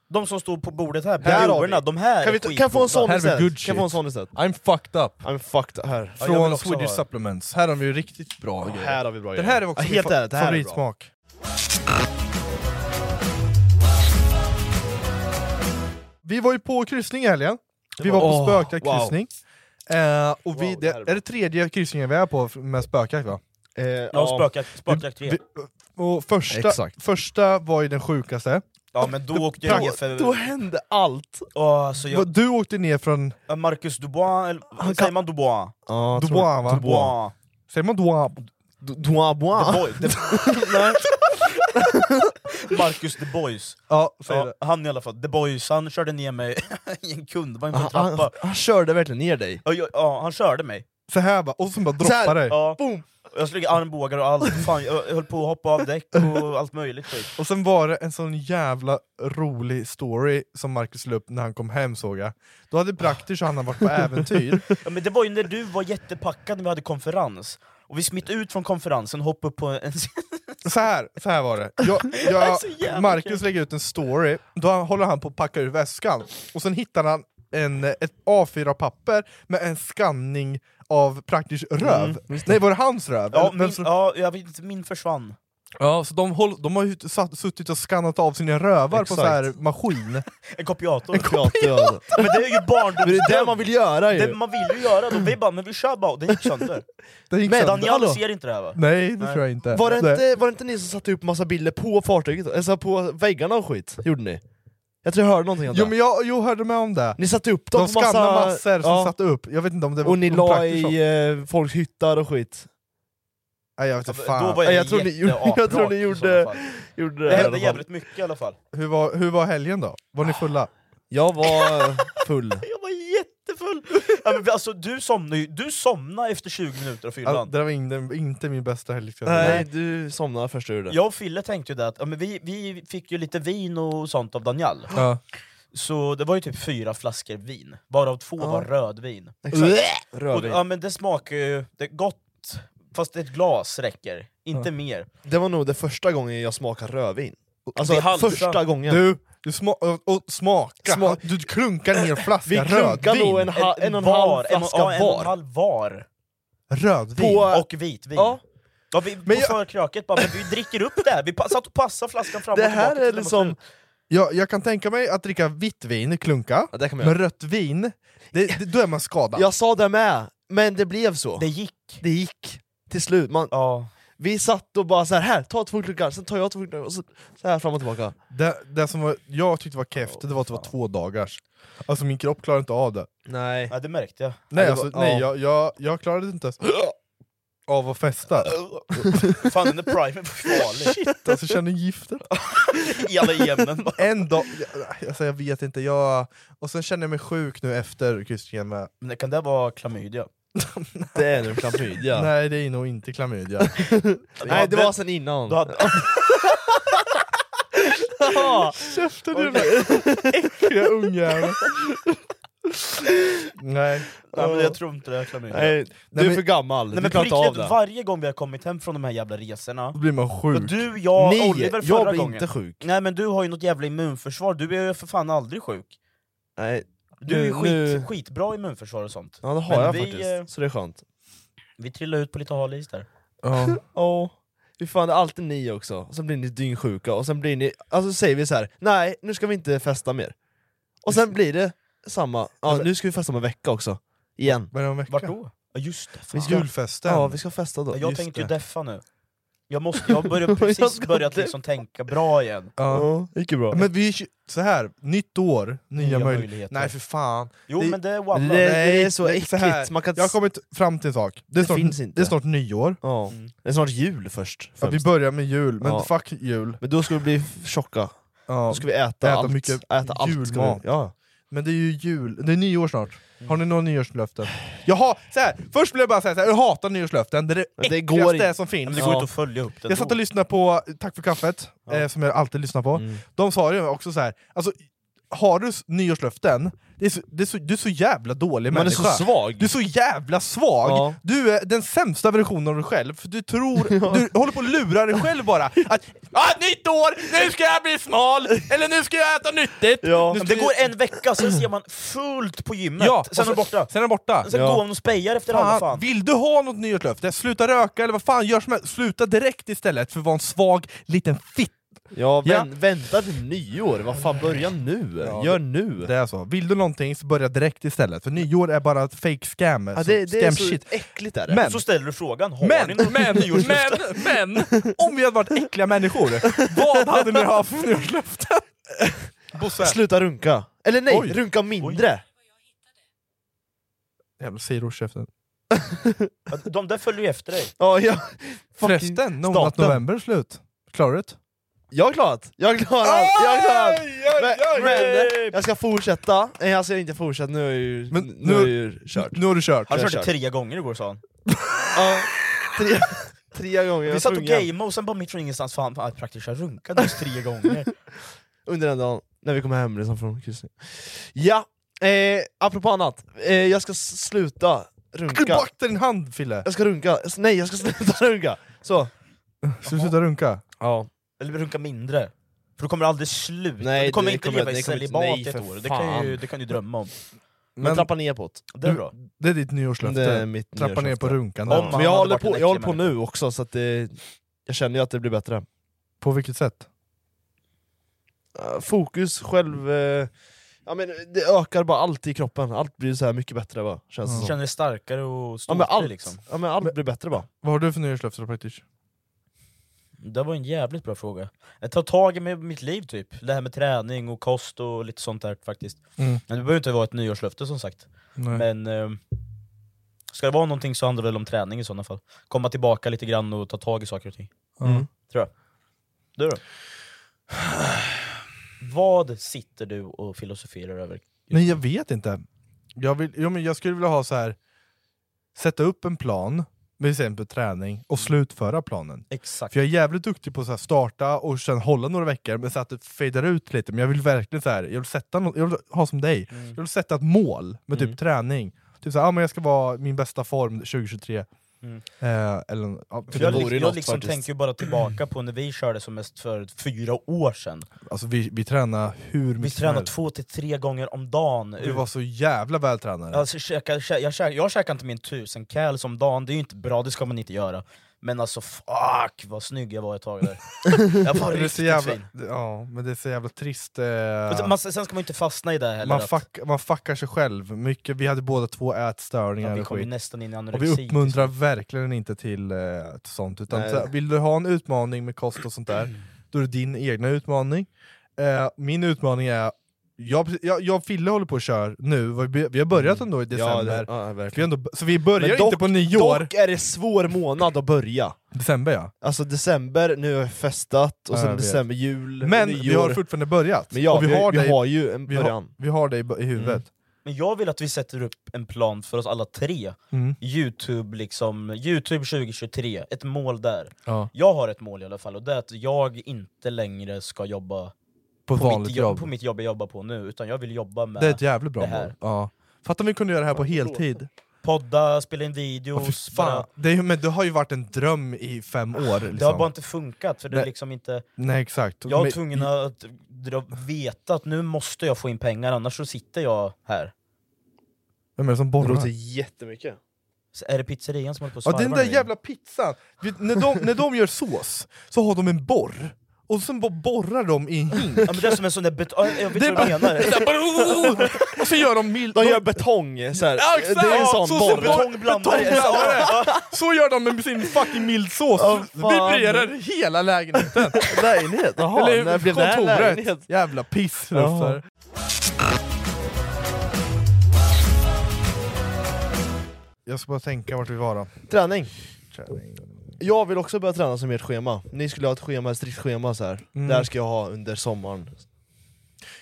Speaker 7: de som står på bordet här,
Speaker 8: Här har
Speaker 7: perioderna,
Speaker 8: vi.
Speaker 7: de här
Speaker 8: Kan vi
Speaker 7: är
Speaker 8: ta- kan jag få en
Speaker 7: skitgoda.
Speaker 8: sån
Speaker 5: Här är
Speaker 8: istället?
Speaker 5: väl good
Speaker 8: Kan jag få en
Speaker 5: shit.
Speaker 8: sån istället?
Speaker 5: I'm fucked up.
Speaker 8: I'm fucked här.
Speaker 7: Ja, jag vill
Speaker 5: Från
Speaker 7: också
Speaker 5: Swedish
Speaker 7: ha.
Speaker 5: Supplements. Här har de ju riktigt bra
Speaker 8: Ja,
Speaker 5: grejer.
Speaker 8: här har vi bra
Speaker 5: Den
Speaker 8: grejer.
Speaker 5: här är också
Speaker 8: Ja,
Speaker 5: min
Speaker 8: helt
Speaker 5: fa-
Speaker 8: ärligt, det här är bra.
Speaker 5: favoritsmak. Vi var ju på kryssning i helgen. Vi var på
Speaker 8: Åh,
Speaker 5: spökjakt
Speaker 8: wow.
Speaker 5: kryssning. Eh, och vi,
Speaker 8: Wow, det
Speaker 5: det,
Speaker 8: här är
Speaker 5: är
Speaker 8: bra.
Speaker 5: det tredje kryssningen vi är på f- med spökjakt va?
Speaker 8: Eh,
Speaker 7: Ja, spökjakt- spökjakt
Speaker 5: Vi-
Speaker 7: 3.
Speaker 5: Och första,
Speaker 8: Exakt.
Speaker 5: första var ju den sjukaste.
Speaker 7: Ja men då åkte jag ner för...
Speaker 8: Då hände allt!
Speaker 7: Åh, så jag,
Speaker 5: Du åkte ner från
Speaker 7: Marcus Dubois, eller säger man Dubois?
Speaker 8: Ja,
Speaker 5: Douan va?
Speaker 7: Dubois.
Speaker 5: Säger man Douan?
Speaker 8: Doa boa.
Speaker 7: Boy, the, Marcus The Boys.
Speaker 5: Ja, säger
Speaker 7: Ja,
Speaker 5: det.
Speaker 7: han i alla fall, The Boys, han körde ner mig i en kundvagn på en
Speaker 8: Han, han,
Speaker 7: trappa.
Speaker 8: han körde verkligen ner dig.
Speaker 7: Ja, jag- ja, han körde mig.
Speaker 5: Så här bara, och sen bara
Speaker 8: Så här,
Speaker 5: droppar dig.
Speaker 7: Ja.
Speaker 8: Boom.
Speaker 7: Jag slog i armbågar och allt, fan, jag höll på att hoppa av däck och allt möjligt skit.
Speaker 5: Och sen var det en sån jävla rolig story som Marcus la upp när han kom hem såg jag. Då hade Praktisch och han varit på äventyr.
Speaker 7: Ja, men det var ju när du var jättepackad när vi hade konferens, och vi smitt ut från konferensen och hoppade upp på en...
Speaker 5: Så här, så här var det. Jag,
Speaker 7: så jävla
Speaker 5: jag, Marcus lägger ut en story, då han- håller han på att packa ur väskan. Och sen hittar han en, ett A4-papper med en skanning av Praktisch röv. Nej, var det hans röv?
Speaker 7: Mm, Ja,
Speaker 5: Eller-
Speaker 7: min,
Speaker 5: så,
Speaker 7: ja, jag vet inte, min försvann.
Speaker 5: ja, så de, håll, de har ju satt, suttit och skannat av sina rövar
Speaker 8: Exakt.
Speaker 5: på så här maskin.
Speaker 7: En kopiator.
Speaker 8: Pratade.
Speaker 7: Men det är
Speaker 8: Men
Speaker 7: ju
Speaker 8: det är det man
Speaker 7: barndomsdröm!
Speaker 8: vill göra
Speaker 7: Det
Speaker 8: ju!
Speaker 7: man vill ju göra då, vi bara men vi kör bara, och den gick sönder.
Speaker 5: Den gick
Speaker 7: Men
Speaker 5: sönder.
Speaker 7: Daniel ser inte det här va?
Speaker 5: Nej, det
Speaker 7: Nej.
Speaker 5: tror jag inte.
Speaker 8: Var det,
Speaker 5: Nej.
Speaker 8: inte, var det inte ni som satte upp massa bilder på fartyget? Alltså på väggarna och skit? Gjorde ni? Jag tror jag hörde någonting om
Speaker 5: Jo
Speaker 8: det.
Speaker 5: men jag, jag hörde med om det.
Speaker 8: Ni satte upp dem
Speaker 5: De
Speaker 8: på massa...
Speaker 5: skannade massor som
Speaker 8: Ja.
Speaker 5: satte upp, jag vet inte om det var
Speaker 8: Och ni
Speaker 5: om
Speaker 8: la
Speaker 5: praktiskt så.
Speaker 8: i eh, folks hyttar och skit.
Speaker 5: Nej jag vet inte fan.
Speaker 7: Alltså, Då var
Speaker 8: Nej,
Speaker 7: jag,
Speaker 8: jag tror ni gjorde-
Speaker 7: jätteaprak
Speaker 8: jag tror ni
Speaker 7: i
Speaker 8: gjorde-
Speaker 7: sådana fall.
Speaker 8: Gjorde
Speaker 7: Det
Speaker 8: i alla
Speaker 7: hände
Speaker 8: fall.
Speaker 7: jävligt mycket i alla fall.
Speaker 5: Hur, var, hur var helgen då? Var ni fulla?
Speaker 8: Ah. Jag var full.
Speaker 7: Jag var jättefull! ja, men vi- alltså, du, somnade ju, du somnade efter 20 minuter av
Speaker 5: Ja,
Speaker 7: fyllan.
Speaker 5: det var inte, inte min bästa helg ska jag säga.
Speaker 8: Nej, du somnade först du gjorde.
Speaker 7: Jag och Fille tänkte ju det att ja, men vi, vi fick ju lite vin och sånt av Daniel.
Speaker 5: Ja.
Speaker 7: Så det var ju typ fyra flaskor vin, varav två var rödvin.
Speaker 8: Exakt.
Speaker 7: Och,
Speaker 8: Rödvin.
Speaker 7: ja, men det smakar ju det är gott, fast ett glas räcker. Inte mer.
Speaker 8: Det var nog det första gången jag smakade rödvin. Alltså
Speaker 7: Det är halsen.
Speaker 8: första gången.
Speaker 5: Du, du sma och, och smaka,
Speaker 8: Smak-
Speaker 5: du klunkar ner
Speaker 8: Vi
Speaker 5: flaska
Speaker 8: klunkade
Speaker 5: rödvin.
Speaker 8: nog en, ha- en, och en halv
Speaker 7: var, en,
Speaker 8: flaska
Speaker 7: ja, en och en
Speaker 8: var.
Speaker 7: halv var.
Speaker 5: Rödvin?
Speaker 8: På-
Speaker 7: Och vitvin.
Speaker 8: Ja.
Speaker 7: Ja, vi,
Speaker 5: Men
Speaker 7: på
Speaker 5: jag-
Speaker 7: förkröket bara, men vi dricker upp det här, vi pa- satt och passade flaskan fram och
Speaker 8: Det
Speaker 7: tillbaka
Speaker 8: här
Speaker 7: tills
Speaker 8: är
Speaker 7: den var
Speaker 8: liksom...
Speaker 7: slut.
Speaker 5: Jag, jag kan tänka mig att dricka vitt vin, klunka,
Speaker 8: Ja, det kan man
Speaker 5: men
Speaker 8: göra.
Speaker 5: rött vin, det, det, då är man skadad.
Speaker 8: Jag sa det med, men det blev så.
Speaker 7: Det gick!
Speaker 8: Det gick till slut. Man,
Speaker 7: Ja.
Speaker 10: Vi satt och bara så här, här ta två klunkar, sen tar jag två klunkar, och så, så här fram och tillbaka.
Speaker 5: Det, det som var, jag tyckte var keft, det var att det var två dagars. Alltså min kropp klarade inte av det.
Speaker 10: Nej.
Speaker 7: Ja, det märkte jag.
Speaker 5: Nej,
Speaker 7: det
Speaker 5: alltså,
Speaker 7: var-
Speaker 5: nej
Speaker 7: ja.
Speaker 5: jag, jag, jag klarade inte ens av att festa.
Speaker 7: Fan den där primern var farlig.
Speaker 5: Shit, alltså känner giftet.
Speaker 7: I alla ämnen.
Speaker 5: En dag, alltså, jag vet inte, jag... Och sen känner jag mig sjuk nu efter kryssningen med...
Speaker 7: Men kan det vara klamydia?
Speaker 10: det är nog klamydia.
Speaker 5: Nej det är nog inte klamydia.
Speaker 10: Nej, det var sen innan.
Speaker 7: Du hade...
Speaker 5: Käften du äckliga ungjävel! Nej.
Speaker 7: Nej, men jag tror inte det är klamydia.
Speaker 10: Nej, du
Speaker 7: Nej,
Speaker 10: är
Speaker 7: men-
Speaker 10: för gammal,
Speaker 7: Nej,
Speaker 10: du
Speaker 7: men
Speaker 10: klarar
Speaker 7: på
Speaker 10: inte
Speaker 7: riktigt,
Speaker 10: av det.
Speaker 7: Varje gång vi har kommit hem från de här jävla resorna,
Speaker 5: Då blir man sjuk.
Speaker 7: Och du, jag,
Speaker 5: Nej,
Speaker 7: Oliver
Speaker 5: jag
Speaker 7: förra
Speaker 5: blir
Speaker 7: gången.
Speaker 5: inte sjuk.
Speaker 7: Nej men du har ju något jävla immunförsvar, du är ju för fan aldrig sjuk.
Speaker 10: Nej,
Speaker 7: Du är ju
Speaker 10: nu-
Speaker 7: skit,
Speaker 10: nu-
Speaker 7: skitbra immunförsvar och sånt.
Speaker 10: Ja det har
Speaker 7: Men
Speaker 10: jag
Speaker 7: vi, eh,
Speaker 10: faktiskt, så det är skönt.
Speaker 7: Vi trillar ut på lite hal is där.
Speaker 5: Ja.
Speaker 10: Ja. Fy fan, det är alltid ni också, och sen blir ni dyngsjuka, och sen blir ni... Alltså säger vi så här. nej nu ska vi inte festa mer. Och sen blir det samma, ja, nu ska vi festa om en vecka också. Igen.
Speaker 5: Vad är det om en vecka?
Speaker 7: Vart då? Ja just det,
Speaker 10: Vi
Speaker 7: fan.
Speaker 10: ska,
Speaker 5: Julfesten.
Speaker 10: Ja, vi ska festa då.
Speaker 7: Ja, Jag
Speaker 10: Just
Speaker 7: tänkte ju
Speaker 10: det.
Speaker 7: deffa nu. Jag, måste, jag börjar precis
Speaker 10: ska
Speaker 7: börjat
Speaker 10: deffa.
Speaker 7: liksom tänka bra igen.
Speaker 5: Ja.
Speaker 10: det gick ju bra.
Speaker 5: Men vi, är tj- så här, nytt år, nya,
Speaker 7: Nya
Speaker 5: möjligheter.
Speaker 7: möjligheter.
Speaker 5: Nej för fan.
Speaker 7: Jo, men det är one
Speaker 5: Nej,
Speaker 7: love. Det är
Speaker 10: så
Speaker 5: nej,
Speaker 10: äckligt,
Speaker 5: här.
Speaker 10: man kan inte
Speaker 5: Jag har
Speaker 10: s-
Speaker 5: kommit fram till en sak. Det är,
Speaker 10: Det
Speaker 5: snart,
Speaker 10: finns inte.
Speaker 5: det är snart nyår.
Speaker 10: Ja.
Speaker 7: Mm.
Speaker 10: Det är snart jul först.
Speaker 5: Ja, vi
Speaker 10: främst.
Speaker 5: börjar med jul, men
Speaker 10: Ja.
Speaker 5: fuck jul.
Speaker 10: Men då ska vi bli f- tjocka.
Speaker 5: Ja.
Speaker 10: Då ska vi äta, allt.
Speaker 5: mycket
Speaker 10: äta allt. ska
Speaker 5: julmat.
Speaker 10: Vi, ja.
Speaker 5: Men det är ju jul, det är nyår snart. Har ni några nyårslöften? Jag har, så här, först vill jag bara säga så här, jag hatar nyårslöften, det är det,
Speaker 10: det går
Speaker 5: äckligaste
Speaker 10: inte.
Speaker 5: som finns.
Speaker 7: Men det går inte att följa upp det
Speaker 5: Jag satt och
Speaker 7: ändå.
Speaker 5: lyssnade på Tack för kaffet, eh, som jag alltid lyssnar på.
Speaker 7: Mm.
Speaker 5: De sa ju också så här, alltså, har du s- nyårslöften, det är så, det är så, du är så jävla dålig
Speaker 10: Man är
Speaker 5: människa.
Speaker 10: så svag.
Speaker 5: Du är så jävla svag!
Speaker 10: Ja.
Speaker 5: Du är den sämsta versionen av dig själv, för du tror, du håller på att lura dig själv bara. Att, ah, nytt år, nu ska jag bli smal! Eller nu ska jag äta nyttigt!
Speaker 7: Ja.
Speaker 5: Nu ska
Speaker 7: Det
Speaker 5: vi-
Speaker 7: går en vecka, sen ser man fullt på gymmet,
Speaker 5: Ja,
Speaker 7: sen är
Speaker 5: och
Speaker 7: man borta.
Speaker 5: Sen är den borta.
Speaker 7: Sen går man och spejar efter alla
Speaker 5: Fan,
Speaker 7: fan.
Speaker 5: vill du ha något nyårslöfte? Sluta röka eller vad fan, gör som helst. Sluta direkt istället för att vara en svag liten fitt.
Speaker 10: Ja,
Speaker 5: Ja.
Speaker 10: vän, vänta till nyår, vad fan börja nu!
Speaker 5: Ja,
Speaker 10: Gör
Speaker 5: det-
Speaker 10: nu!
Speaker 5: Det är så. Vill du någonting så börja direkt istället, för nyår är bara ett fake scam.
Speaker 10: Ja,
Speaker 5: så-
Speaker 10: det, det är
Speaker 5: scam
Speaker 10: så
Speaker 5: shit.
Speaker 10: äckligt är det.
Speaker 5: Men-
Speaker 7: Så ställer du frågan, har
Speaker 5: Men,
Speaker 7: ni
Speaker 5: men,
Speaker 7: något
Speaker 5: men,
Speaker 7: nyårslöfte?
Speaker 5: men, om vi hade varit äckliga människor, vad hade ni haft för nyårslöften? Bosse.
Speaker 10: Sluta runka! Eller nej,
Speaker 5: Oj.
Speaker 10: runka mindre!
Speaker 5: Jävla sidokäften.
Speaker 7: Ja, De där följer ju efter dig.
Speaker 10: Ja, jag, fucking
Speaker 5: Förresten, när hon att
Speaker 10: staten.
Speaker 5: november är slut, klarar du det?
Speaker 10: Jag har klarat! Jag har klarat! Jag har klarat!
Speaker 5: oj,
Speaker 10: Men, men jag ska fortsätta, nej jag ska inte fortsätta, nu är jag ju,
Speaker 5: Men
Speaker 10: nu,
Speaker 5: nu-
Speaker 10: är jag ju kört.
Speaker 5: Nu har du kört.
Speaker 7: Han
Speaker 10: Jag
Speaker 7: körde
Speaker 10: kör.
Speaker 7: tre gånger igår sa han.
Speaker 10: Ja, tre, tre gånger jag
Speaker 7: Vi satt och
Speaker 10: tvungen
Speaker 7: gameade och sen bara mitt från ingenstans, fan fan, praktiskt jag runkade just tre gånger.
Speaker 10: under den dagen, när vi kommer hem liksom från kryssning. Ja, eh, apropå annat, eh, jag ska s- sluta runka.
Speaker 5: Akta din hand Fille!
Speaker 10: Jag ska runka, S- nej jag ska sluta runka! Så.
Speaker 5: Ska du sluta runka?
Speaker 10: Ja.
Speaker 7: Eller runka mindre. För du kommer aldrig sluta,
Speaker 10: Nej,
Speaker 7: du kommer
Speaker 10: det
Speaker 7: inte
Speaker 10: kommer-
Speaker 7: leva i
Speaker 10: det kommer inte-
Speaker 7: celibat
Speaker 10: nej,
Speaker 7: i ett
Speaker 10: för
Speaker 7: år, det kan, ju,
Speaker 10: fan.
Speaker 7: det kan du drömma om.
Speaker 10: Men, trappa ner på det.
Speaker 7: Det är bra.
Speaker 5: Mm. Det är ditt nyårslöfte.
Speaker 10: Det är mitt
Speaker 5: Trappa ner
Speaker 10: nyårslöfte.
Speaker 5: på runkan.
Speaker 7: Om-
Speaker 10: Men
Speaker 7: hade
Speaker 10: jag håller,
Speaker 7: varit en
Speaker 10: på,
Speaker 7: äcklig
Speaker 10: jag håller på
Speaker 7: människa.
Speaker 10: nu också, så att det, jag känner ju att det blir bättre.
Speaker 5: På vilket sätt?
Speaker 10: Eh, Fokus, själv... eh, Ja, men det ökar bara allt i kroppen, allt blir så här mycket bättre bara, känns det
Speaker 7: Du
Speaker 10: som.
Speaker 7: känner dig starkare och
Speaker 10: Ja
Speaker 7: ståtlig
Speaker 10: men allt,
Speaker 7: liksom.
Speaker 10: ja, men allt blir bättre bara.
Speaker 5: Vad har du för nyårslöfte då praktiskt?
Speaker 7: Det var en jävligt bra fråga. Jag tar tag i med mitt liv typ, det här med träning och kost och lite sånt där faktiskt.
Speaker 5: Mm.
Speaker 7: Men det behöver inte vara ett nyårslöfte som sagt.
Speaker 5: Nej.
Speaker 7: Men ehm, ska det vara någonting så handlar det väl om träning i sådana fall. Komma tillbaka lite grann och ta tag i saker och ting.
Speaker 5: Mm.
Speaker 7: Tror jag. Du då? Vad sitter du och filosoferar över?
Speaker 5: Nej jag vet inte. Jag, vill, jo, men jag skulle vilja ha så här. sätta upp en plan, med exempel träning, och slutföra planen.
Speaker 7: Exakt.
Speaker 5: För jag är jävligt duktig på att starta och sen hålla några veckor, men så att det fejdar ut lite. Men jag vill verkligen så här, jag vill sätta något, jag vill ha som dig,
Speaker 7: Mm.
Speaker 5: jag vill sätta ett mål med typ träning. Typ såhär, ah, men jag ska vara i min bästa form 2023.
Speaker 7: Mm.
Speaker 5: Eh, eller, ja,
Speaker 7: För
Speaker 5: typ,
Speaker 7: jag
Speaker 10: vore ju
Speaker 7: liksom, jag
Speaker 10: något
Speaker 7: liksom
Speaker 10: faktiskt.
Speaker 7: tänker ju bara tillbaka på när vi körde som mest för fyra år sedan.
Speaker 5: alltså, vi, vi tränar hur mycket
Speaker 7: Vi
Speaker 5: som
Speaker 7: tränade
Speaker 5: helst.
Speaker 7: två till tre gånger om dagen.
Speaker 5: Du var så jävla vältränad.
Speaker 7: Alltså, käka, kä- jag, käkar, jag käkar inte min tusen kals om dagen, det är ju inte bra, det ska man inte göra. Men alltså fuck vad snygg jag var ett tag där. Jag var
Speaker 5: Men det är
Speaker 7: riktigt
Speaker 5: så jävla,
Speaker 7: fin.
Speaker 5: det- ja, men det är så jävla trist. eh,
Speaker 7: Och sen- Man, sen ska man ju inte fastna i det heller.
Speaker 5: man,
Speaker 7: att-
Speaker 5: fuck, man fuckar sig själv mycket, vi hade båda två ätstörningar
Speaker 7: Ja, vi
Speaker 5: och
Speaker 7: kom ju
Speaker 5: skit.
Speaker 7: nästan in i
Speaker 5: Och vi
Speaker 7: anorexi
Speaker 5: uppmuntrar verkligen inte till eh, sånt, utan
Speaker 7: Nej.
Speaker 5: så, här, vill du ha en utmaning med kost och sånt där, då är det din egna utmaning. Eh, min utmaning är, jag, jag, jag och Fille håller på och kör nu, vi, vi har börjat ändå i
Speaker 10: Mm. Ja, det-
Speaker 5: december,
Speaker 10: ja, verkligen.
Speaker 5: vi har ändå, så vi börjar
Speaker 10: Men dock-
Speaker 5: inte på nyår.
Speaker 10: Dock är det svår månad att börja.
Speaker 5: December ja.
Speaker 10: Alltså december, nu har jag festat,
Speaker 5: Ja,
Speaker 10: och sen
Speaker 5: jag vet.
Speaker 10: december, jul,
Speaker 5: Men
Speaker 10: nyår.
Speaker 5: vi har fortfarande börjat.
Speaker 10: Men ja,
Speaker 5: Och
Speaker 10: vi, har, vi
Speaker 5: dig-
Speaker 10: har ju en
Speaker 5: vi har-
Speaker 10: början.
Speaker 5: Vi har det i, i huvudet.
Speaker 7: Mm. Men jag vill att vi sätter upp en plan för oss alla tre.
Speaker 5: Mm.
Speaker 7: Youtube, liksom, Youtube 2023, ett mål där.
Speaker 5: Ja.
Speaker 7: Jag har ett mål i alla fall, och det är att jag inte längre ska jobba
Speaker 5: På ett vanligt
Speaker 7: mitt
Speaker 5: jobb.
Speaker 7: på mitt jobb jag jobbar på nu, utan jag vill jobba med
Speaker 5: Det är typ- ett jävligt bra
Speaker 7: det här.
Speaker 5: mål. Ja. Fattar om vi kunde göra det här på heltid.
Speaker 7: Podda, spela in videos,
Speaker 5: Fan, det, är, ju- men det har ju varit en dröm i fem år. Liksom.
Speaker 7: Det har bara inte funkat, för det är
Speaker 5: Nej.
Speaker 7: liksom inte...
Speaker 5: Nej, exakt.
Speaker 7: Jag
Speaker 5: Men-
Speaker 7: är tvungen att dra, veta att nu måste jag få in pengar, annars så sitter jag här.
Speaker 5: Vem är det som borrar?
Speaker 7: jättemycket. Så är det pizzerian som håller på att
Speaker 5: Ja, den
Speaker 7: svarva
Speaker 5: där
Speaker 7: nu?
Speaker 5: jävla pizzan! Vet, när, de, när de gör sås så har de en borr, och sen bara borrar de i en hink.
Speaker 7: Ja, men det är som en sån där bet- ja, jag vet vad du menar.
Speaker 5: Det är bara- och så gör de mild...
Speaker 10: De gör betong, så här.
Speaker 5: Ja,
Speaker 10: det är en sån
Speaker 5: så,
Speaker 10: borr.
Speaker 5: Så, betongblandare.
Speaker 10: Betongblandare.
Speaker 5: så gör de med sin fucking mildsås,
Speaker 10: Ja, fan.
Speaker 5: vibrerar hela lägenheten.
Speaker 10: Lägenhet? Jaha,
Speaker 5: Eller
Speaker 10: när blev det här
Speaker 5: kontoret.
Speaker 10: lägenhet?
Speaker 5: Jävla pissluffare. Jag ska bara tänka vart vi var då.
Speaker 10: Träning. Jag vill också börja träna som ert schema. Ni skulle ha ett schema, ett strikt schema så här.
Speaker 5: Mm.
Speaker 10: Det här ska jag ha under sommaren.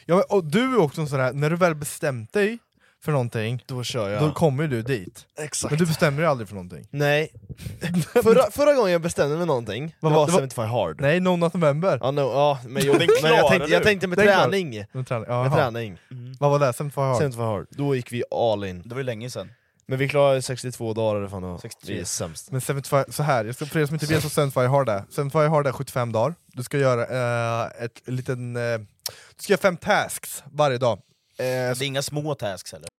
Speaker 5: Ja, men- och du är också en sån här, när du väl bestämt dig för någonting,
Speaker 10: då, kör
Speaker 5: då kommer ju du dit.
Speaker 10: Exakt.
Speaker 5: Men du bestämmer dig aldrig för någonting.
Speaker 10: Nej. förra, förra gången jag bestämde mig någonting, det
Speaker 5: Vad
Speaker 10: var
Speaker 5: var- det var-
Speaker 10: 75 hard.
Speaker 5: Nej, no not november.
Speaker 10: Ja, no, ja, men, jo, men jag, tänkte, jag tänkte med träning.
Speaker 5: Med träning.
Speaker 10: Med träning.
Speaker 5: Vad var det? Sen var hard?
Speaker 10: 75 hard. Då gick vi all in.
Speaker 7: Det var ju länge sen.
Speaker 10: Men vi klarade 62 dagar, eller fan det var.
Speaker 7: 63.
Speaker 10: vi är sämst.
Speaker 5: Men 75, så här, jag ska, för er som inte vet vad Senfire har det, Senfire har det 75 dagar, du ska göra eh, ett liten... Eh, du ska göra fem tasks varje dag. Eh,
Speaker 7: Det är inga små tasks heller.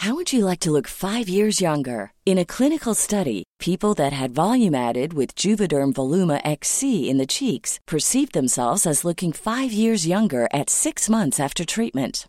Speaker 11: How would you like to look five years younger? In a clinical study, people that had volume added with Juvederm Voluma XC in the cheeks perceived themselves as looking five years younger at six months after treatment.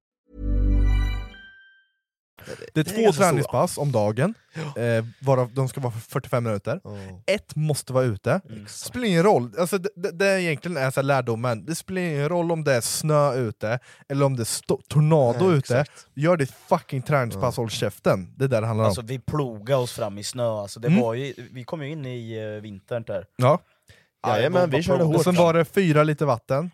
Speaker 5: Det är två träningspass om dagen, eh, varav de ska vara för 45 minuter. Ett måste vara ute. Spelar ingen roll, alltså, det, det, det är egentligen är så här lärdomen, det spelar ingen roll om det är snö ute, eller om det är sto- tornado
Speaker 7: Nej,
Speaker 5: ute. Gör ditt fucking träningspass, håll käften. Det är det det handlar
Speaker 7: Alltså
Speaker 5: om.
Speaker 7: vi plogade oss fram i snö, alltså, det
Speaker 5: Mm.
Speaker 7: var ju, vi kom ju in i eh, vintern där.
Speaker 5: Ja.
Speaker 7: Jajamän, vi körde hårt.
Speaker 5: Och sen var det fyra liter vatten,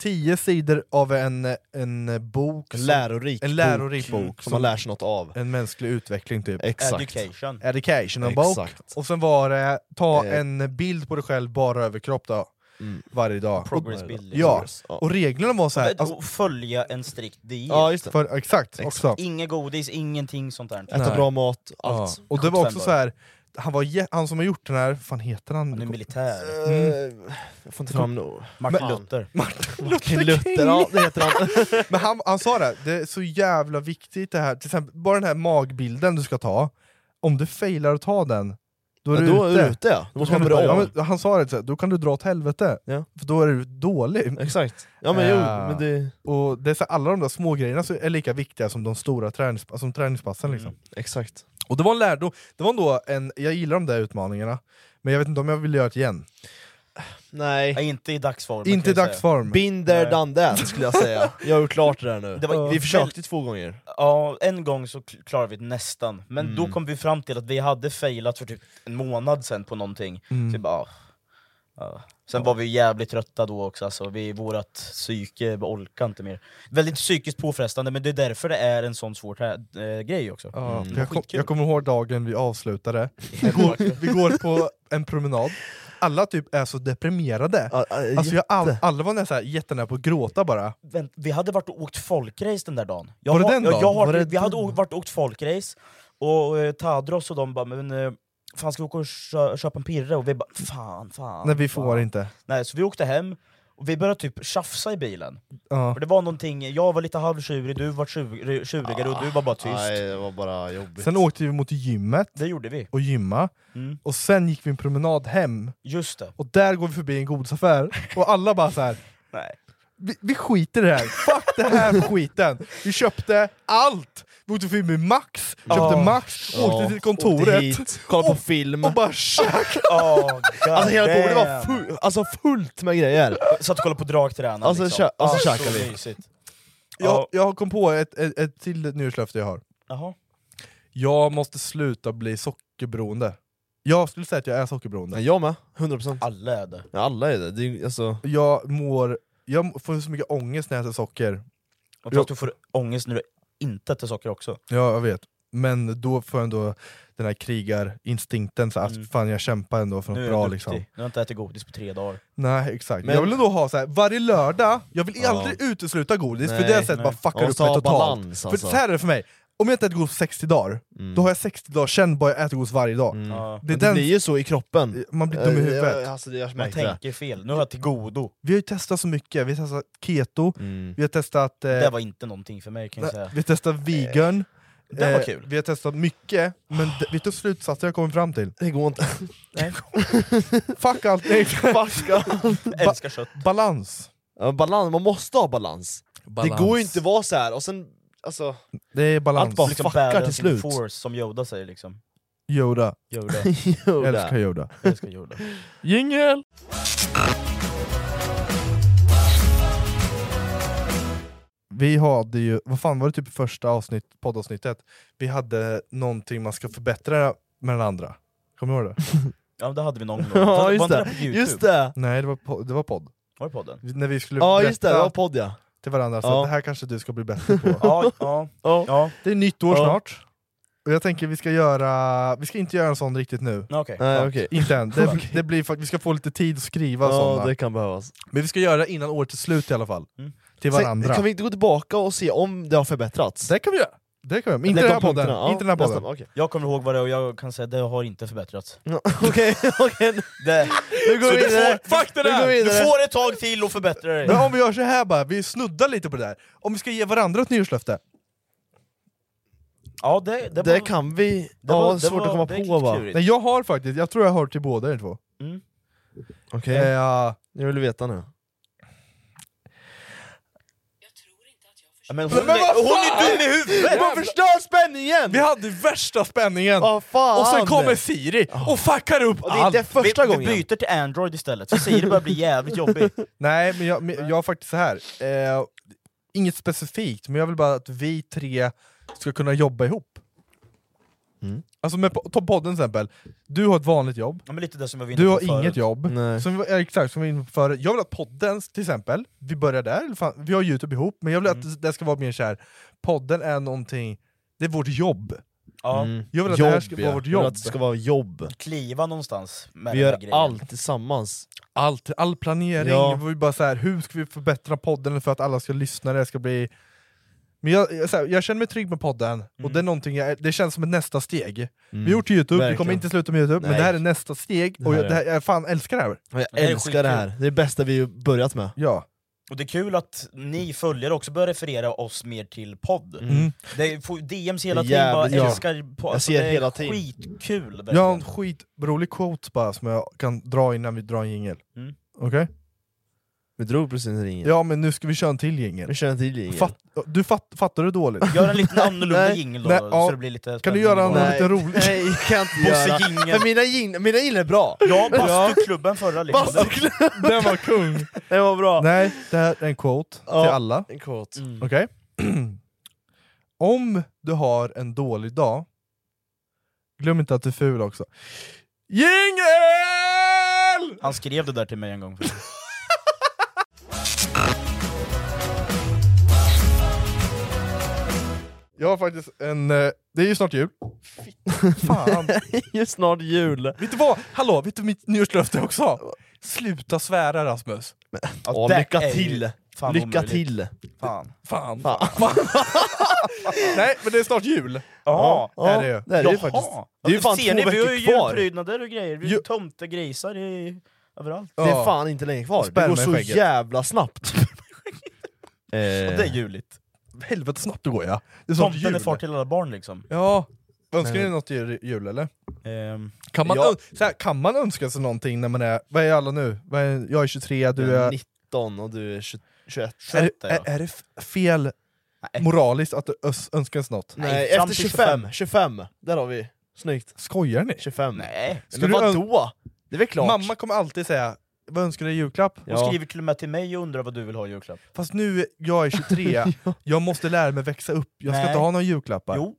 Speaker 5: tio sidor av en, en bok,
Speaker 10: En lärorik
Speaker 5: en lärorik
Speaker 10: bok,
Speaker 5: bok,
Speaker 10: som man lär sig något av.
Speaker 5: En mänsklig utveckling typ.
Speaker 10: Exakt.
Speaker 7: Education.
Speaker 5: Educational bok.
Speaker 10: Exakt.
Speaker 5: Och sen var det, ta
Speaker 10: Eh.
Speaker 5: en bild på dig själv bara över kropp då.
Speaker 10: Mm.
Speaker 5: Varje dag.
Speaker 7: Progress
Speaker 5: Och-
Speaker 7: building.
Speaker 5: Ja.
Speaker 7: Progress, ja.
Speaker 5: Och reglerna var så här.
Speaker 7: Och
Speaker 5: Alltså,
Speaker 7: följa en strikt diet.
Speaker 5: Ja, just det. För- exakt, också.
Speaker 7: Inga godis, ingenting sånt där.
Speaker 5: Nej.
Speaker 7: Ja.
Speaker 5: Ja. Och det var
Speaker 7: 75
Speaker 5: också
Speaker 7: bara.
Speaker 5: så här. han, var, jä- han som har gjort den här, vad fan heter han?
Speaker 7: Han är militär.
Speaker 5: Mm.
Speaker 10: Eh, Jag får inte fram nu.
Speaker 7: Martin
Speaker 5: Men-
Speaker 7: Luther.
Speaker 5: Martin
Speaker 10: Martin
Speaker 5: Luther,
Speaker 10: Luther,
Speaker 5: King.
Speaker 10: ja, det heter han.
Speaker 5: Men han, han sa det, det är så jävla viktigt det här, till exempel, bara den här magbilden du ska ta, om du failar att ta den, då är
Speaker 10: Ja,
Speaker 5: du
Speaker 10: då är
Speaker 5: ute.
Speaker 10: du ute, ja. Då måste
Speaker 5: kan
Speaker 10: man
Speaker 5: du-
Speaker 10: börja om.
Speaker 5: men han sa det, så här, då kan du dra åt helvete, för då är du dålig. Eh,
Speaker 10: Exakt. Ja, men jo, men det...
Speaker 5: Och det är så, här, alla de där små grejerna så är lika viktiga som de stora tränings, som träningspassen. Liksom.
Speaker 10: Mm, Exakt.
Speaker 5: Och det var en lärdom, det var ändå en, jag gillar de där utmaningarna, men jag vet inte om jag vill göra det igen.
Speaker 10: Nej.
Speaker 7: inte i dagsform.
Speaker 5: Inte i
Speaker 7: kan jag
Speaker 5: dagsform.
Speaker 7: säga.
Speaker 10: Been there,
Speaker 7: Nej.
Speaker 10: done that skulle jag säga. Jag har gjort klart det där nu.
Speaker 7: Det var-
Speaker 10: vi försökte två gånger.
Speaker 7: Ja, en gång så kl- klarade vi det nästan, men
Speaker 10: Mm.
Speaker 7: då kom vi fram till att vi hade failat för typ en månad sen på någonting.
Speaker 10: Mm.
Speaker 7: Så vi bara, ah, ja. Sen var vi ju jävligt trötta då också, alltså, vi, vårat psyke orkade inte mer. Väldigt psykiskt påfrestande, men det är därför det är en sån svår trä- eh, grej också.
Speaker 5: Ja,
Speaker 7: Det var
Speaker 5: jag, kom,
Speaker 7: skitkul.
Speaker 5: jag kommer ihåg dagen vi avslutade, vi går, vi går på en promenad, alla typ är så deprimerade. Alltså jag, all, alla var nästan så här jättenära på att gråta bara.
Speaker 7: Vänt, vi hade varit och åkt folkrace den där dagen.
Speaker 5: Var det
Speaker 7: har-
Speaker 5: den
Speaker 7: jag,
Speaker 5: dagen?
Speaker 7: jag har,
Speaker 5: Var det
Speaker 7: vi hade å- varit och åkt folkrace, och eh, Tadros och de bara men, eh, Fan ska vi åka och kö- köpa en pirre? Och vi bara fan, fan.
Speaker 5: Nej vi
Speaker 7: fan.
Speaker 5: får inte.
Speaker 7: Nej, så vi åkte hem, och vi började typ tjafsa i bilen.
Speaker 5: Ja.
Speaker 7: För det var någonting, jag var lite halvtjurig, du var tjur- tjurigare och du var bara tyst.
Speaker 10: Nej, det var bara jobbigt.
Speaker 5: Sen åkte vi mot gymmet
Speaker 7: det gjorde vi.
Speaker 5: och gymma,
Speaker 7: Mm.
Speaker 5: och sen gick vi en promenad hem,
Speaker 7: Just det.
Speaker 5: och där går vi förbi en godisaffär, och alla bara så här.
Speaker 7: Nej.
Speaker 5: Vi, vi skiter i det här, fuck det här skiten! Vi köpte allt! Vi åkte förbi med Max, köpte
Speaker 10: Ja.
Speaker 5: Max,
Speaker 10: Ja.
Speaker 5: åkte till kontoret,
Speaker 10: Åkte hit, kollade på
Speaker 5: och-
Speaker 10: film.
Speaker 5: och bara käkade!
Speaker 10: alltså hela
Speaker 7: damn.
Speaker 10: bordet var full, alltså fullt med grejer.
Speaker 7: Satt och kollade på dragtränaren
Speaker 10: Alltså,
Speaker 7: liksom.
Speaker 10: kö- alltså,
Speaker 7: så
Speaker 10: käkade vi.
Speaker 7: mysigt.
Speaker 5: Jag, jag kom på ett, ett, ett till nyårslöfte jag har.
Speaker 7: Jaha.
Speaker 5: Jag måste sluta bli sockerberoende. Jag skulle säga att jag är sockerberoende.
Speaker 10: Jag med, 100%.
Speaker 7: Alla är det.
Speaker 10: Ja, alla är det. det är, ju- alltså...
Speaker 5: Jag, mår, jag får så mycket ångest när jag äter socker.
Speaker 7: Och tror att du får ångest när du inte äter socker också.
Speaker 5: Ja, jag vet. Men då får jag ändå den här krigarinstinkten, så att fan jag kämpar ändå för
Speaker 7: Mm. Nu är
Speaker 5: något
Speaker 7: du
Speaker 5: bra
Speaker 7: duktig,
Speaker 5: liksom.
Speaker 7: nu har jag inte ätit godis på tre dagar.
Speaker 5: Nej exakt,
Speaker 7: Men-
Speaker 5: men jag vill ändå ha så här, varje lördag, jag vill
Speaker 7: Ja.
Speaker 5: aldrig utesluta godis för
Speaker 7: Nej,
Speaker 5: det sättet
Speaker 7: nej.
Speaker 5: bara
Speaker 7: Man
Speaker 5: fuckar upp mig
Speaker 7: måste ha
Speaker 5: totalt.
Speaker 7: balans, alltså. Mm.
Speaker 5: För så här är det för mig, om jag inte äter godis på 60 dagar, då har jag 60 dagar känt bara jag äter godis varje dag.
Speaker 10: Mm.
Speaker 7: Ja.
Speaker 5: Det, är
Speaker 10: Men det
Speaker 5: den,
Speaker 10: blir ju så i kroppen.
Speaker 5: man blir dum i
Speaker 10: Eh,
Speaker 5: huvudet.
Speaker 10: ja, Alltså, det görs
Speaker 7: Man
Speaker 10: märkligt.
Speaker 7: tänker fel, nu har jag till godo.
Speaker 5: Vi har ju testat så mycket, vi har testat keto,
Speaker 10: Mm.
Speaker 5: vi har testat... eh,
Speaker 7: Det var inte någonting för mig kan jag säga. Eh,
Speaker 5: vi har testat vegan,
Speaker 7: det var
Speaker 5: eh,
Speaker 7: kul.
Speaker 5: vi har testat mycket, men d- vet du slutsatsen jag kommer fram till?
Speaker 10: Det går inte.
Speaker 7: Nej.
Speaker 5: Fuck allt! Nej,
Speaker 10: Fuck allt.
Speaker 7: Älskar kött.
Speaker 5: Balans!
Speaker 10: Ja, balans. Man måste ha balans.
Speaker 5: Balans.
Speaker 10: Det går ju inte vara så här. och sen... Alltså,
Speaker 5: Det är balans.
Speaker 10: Allt bara fuckar till slut.
Speaker 7: force som Yoda säger liksom.
Speaker 5: Yoda.
Speaker 7: Yoda.
Speaker 10: Yoda.
Speaker 5: Älskar Yoda.
Speaker 7: Älskar Yoda.
Speaker 5: Jingel! Vi hade ju, vad fan var det typ i första avsnitt, poddavsnittet? Vi hade någonting man ska förbättra med den andra. Kommer du ihåg det?
Speaker 7: Ja det hade vi någon gång.
Speaker 10: Ja, just
Speaker 7: var inte
Speaker 10: det.
Speaker 7: det på Youtube?
Speaker 10: Just det.
Speaker 5: Nej, det var, po- det var podd.
Speaker 7: Var det podden?
Speaker 5: När vi skulle
Speaker 10: Ja
Speaker 5: berätta
Speaker 10: just det, det var podd ja.
Speaker 5: till varandra, så
Speaker 10: Ja.
Speaker 5: det här kanske du ska bli bättre på.
Speaker 7: Ja, ja, ja.
Speaker 5: Det är nytt år
Speaker 7: Ja.
Speaker 5: snart. Och jag tänker vi ska göra, vi ska inte göra en sån riktigt nu.
Speaker 7: Ja, okej.
Speaker 10: Nej,
Speaker 7: Ja.
Speaker 10: okej.
Speaker 5: Inte än. Det,
Speaker 10: Okej.
Speaker 5: det blir, fakt- vi ska få lite tid att skriva
Speaker 10: Ja,
Speaker 5: såna.
Speaker 10: det kan behövas.
Speaker 5: Men vi ska göra det innan året är slut i alla fall.
Speaker 7: Mm.
Speaker 5: Till varandra.
Speaker 10: Sen, kan vi inte gå tillbaka och se om det har förbättrats?
Speaker 5: Det kan vi göra. Det kan vi göra. Men inte
Speaker 10: Lägg
Speaker 5: den här
Speaker 10: de
Speaker 5: podden.
Speaker 10: punkterna, ja,
Speaker 5: inte den här podden.
Speaker 10: nästa, okej.
Speaker 7: Jag kommer ihåg vad det är och jag kan säga att det har inte förbättrats.
Speaker 10: Okej, okej.
Speaker 7: Det.
Speaker 10: Nu går
Speaker 7: Så
Speaker 10: vi
Speaker 7: du
Speaker 10: vidare.
Speaker 7: får, fuck det
Speaker 10: Nu går vi
Speaker 7: där! Du
Speaker 10: vidare.
Speaker 7: får ett tag till och förbättra dig.
Speaker 5: Men om vi gör så här bara, vi snuddar lite på det där. Om vi ska ge varandra ett nyårslöfte.
Speaker 7: Ja det, det,
Speaker 10: Det,
Speaker 7: var-
Speaker 10: kan vi...
Speaker 7: det
Speaker 10: ja,
Speaker 7: var-
Speaker 10: det
Speaker 7: det
Speaker 10: svårt
Speaker 7: var-
Speaker 10: att komma
Speaker 7: det är
Speaker 10: på va?
Speaker 7: klurigt.
Speaker 5: Nej jag har faktiskt, jag tror jag har till båda er två.
Speaker 7: Mm.
Speaker 10: Okej,
Speaker 5: Eh,
Speaker 10: jag vill veta nu.
Speaker 7: Ja, Men
Speaker 10: Men
Speaker 7: hon,
Speaker 10: vad
Speaker 7: är, hon är
Speaker 10: fan!
Speaker 7: dum i huvudet!
Speaker 10: Man förstör spänningen!
Speaker 5: vi hade värsta spänningen!
Speaker 10: Vad fan!
Speaker 5: och sen kommer Siri och fuckar upp
Speaker 10: Och det är
Speaker 5: allt!
Speaker 10: inte första
Speaker 7: vi, vi
Speaker 10: gången.
Speaker 7: byter till Android istället, för Siri börjar bli jävligt jobbig.
Speaker 5: Nej men jag, men jag har faktiskt så här. Eh, inget specifikt, men jag vill bara att vi tre ska kunna jobba ihop.
Speaker 10: Mm.
Speaker 5: Alltså med, po- ta podden till exempel, du har ett vanligt jobb,
Speaker 7: Ja, men lite det som jag var inne
Speaker 5: Du
Speaker 7: på
Speaker 5: har
Speaker 7: förut.
Speaker 5: inget jobb,
Speaker 10: Nej.
Speaker 5: som vi, var- exakt som vi var inne på förut. Jag vill att podden till exempel, vi börjar där, eller fan, vi har youtube ihop, men jag vill
Speaker 10: Mm.
Speaker 5: att det ska vara mer såhär, podden är någonting, det är vårt jobb.
Speaker 7: Ja.
Speaker 5: Jag vill att det här ska vara
Speaker 10: ja.
Speaker 5: vårt
Speaker 10: Jag vill
Speaker 5: jobb. Äh,
Speaker 10: att det ska vara jobb.
Speaker 7: Kliva någonstans med
Speaker 10: Vi
Speaker 7: den här
Speaker 10: gör
Speaker 7: grejen.
Speaker 10: allt tillsammans.
Speaker 5: Allt, all planering,
Speaker 10: Ja.
Speaker 5: vi bara så här, hur ska vi förbättra podden för att alla ska lyssna, det ska bli... Men jag, jag- så här, jag känner mig trygg med podden,
Speaker 10: Mm.
Speaker 5: och det, är någonting jag, det känns som ett nästa steg.
Speaker 7: Mm.
Speaker 5: Vi har gjort Youtube, vi kommer
Speaker 10: Verkligen.
Speaker 5: inte sluta med Youtube, men
Speaker 10: Nej.
Speaker 5: det här är nästa steg,
Speaker 10: Det
Speaker 5: och
Speaker 10: här
Speaker 5: jag,
Speaker 10: är-
Speaker 5: det här, jag fan älskar det här.
Speaker 10: Och jag
Speaker 7: Det här är
Speaker 10: älskar det här,
Speaker 7: skitkul.
Speaker 10: det är det bästa vi har börjat med.
Speaker 5: Ja.
Speaker 7: Och det är kul att ni följare också börjar referera oss mer till podden.
Speaker 10: Mm.
Speaker 7: Det får DMs hela
Speaker 10: Det är
Speaker 7: tiden, bara
Speaker 10: jävligt- ja.
Speaker 7: älskar po-
Speaker 10: Jag
Speaker 7: alltså,
Speaker 10: ser
Speaker 7: det är
Speaker 10: hela tiden.
Speaker 7: skitkul!
Speaker 5: Jag har en skitrolig quote bara som jag kan dra innan vi drar en jingel.
Speaker 7: Mm.
Speaker 5: Okej?
Speaker 10: Vi drog precis en jingel.
Speaker 5: Ja men nu ska vi köra en till jingel.
Speaker 10: Vi kör en till jingel.
Speaker 5: Fatt, du fatt, fattar du dåligt?
Speaker 7: Gör en liten annorlunda
Speaker 10: Nej.
Speaker 7: jingel då,
Speaker 5: Nej,
Speaker 7: så
Speaker 5: ja.
Speaker 7: det blir lite
Speaker 5: Kan
Speaker 7: spännande
Speaker 5: du göra en
Speaker 7: bara.
Speaker 5: lite rolig?
Speaker 10: Nej, jag kan inte
Speaker 7: Bosse
Speaker 10: göra.
Speaker 7: Gingen.
Speaker 10: Men mina jinglar mina jinglar är bra!
Speaker 7: Ja, bastuklubben förra liksom.
Speaker 10: Bastuklubben.
Speaker 5: Den var kung!
Speaker 10: Den var bra!
Speaker 5: Nej, det här är en quote
Speaker 10: Ja,
Speaker 5: till alla.
Speaker 10: en quote. Mm.
Speaker 5: Okej? Om du har en dålig dag, glöm inte att du är ful också. Jingel!
Speaker 7: Han skrev det där till mig en gång.
Speaker 5: Jag har faktiskt en... eh, Det är ju snart jul. Fan.
Speaker 10: det är snart jul.
Speaker 5: Vet du vad? Hallå, vet du mitt nyårslöfte också? Sluta svära Rasmus.
Speaker 7: Alltså,
Speaker 10: Ja,
Speaker 5: det
Speaker 10: lycka
Speaker 5: är ju
Speaker 10: till!
Speaker 5: fan
Speaker 10: lycka
Speaker 5: omöjligt.
Speaker 10: till!
Speaker 7: Fan.
Speaker 5: Fan. Nej, men det är snart jul.
Speaker 7: Ja,
Speaker 5: det är det ju.
Speaker 10: det är ju faktiskt. Det är ju fan
Speaker 7: Ser
Speaker 10: två
Speaker 7: ni, vi har ju
Speaker 10: veckor kvar.
Speaker 7: julprydnader och grejer, vi har ju tomtegrisar i, överallt.
Speaker 10: Det är fan inte länge kvar. Det
Speaker 5: Spärr
Speaker 10: går
Speaker 5: mig i
Speaker 10: så
Speaker 5: skägget.
Speaker 10: jävla snabbt. eh,
Speaker 7: Och det är juligt.
Speaker 5: Helvete snabbt det går ja. Det är snart
Speaker 7: Tomten är
Speaker 5: jul.
Speaker 7: far till alla barn liksom.
Speaker 5: Ja. Önskar
Speaker 7: Men-
Speaker 5: ni något i jul eller?
Speaker 7: Ehm,
Speaker 5: Kan man,
Speaker 7: ja.
Speaker 5: ö- så här, kan man önska sig någonting när man är... Vad är alla nu? Vad är, jag är 23, du
Speaker 10: Du är
Speaker 5: är...
Speaker 10: 19 och du är 20, 21.
Speaker 5: Är, är, är det f- fel moraliskt att ös- önska sig något?
Speaker 10: Nej, efter 25, 25, där har vi. Snyggt.
Speaker 5: Skojar ni?
Speaker 10: 25.
Speaker 7: Nej.
Speaker 10: Men
Speaker 5: du ön-
Speaker 10: vadå? Det är väl klart.
Speaker 5: Mamma kommer alltid säga Vad önskar du i julklapp?
Speaker 7: Hon skriver till och med till mig och undrar vad du vill ha i julklapp.
Speaker 5: Fast nu, jag är 23, jag måste lära mig växa upp, jag ska
Speaker 7: Nej.
Speaker 5: inte ha några julklappar.
Speaker 7: Jo!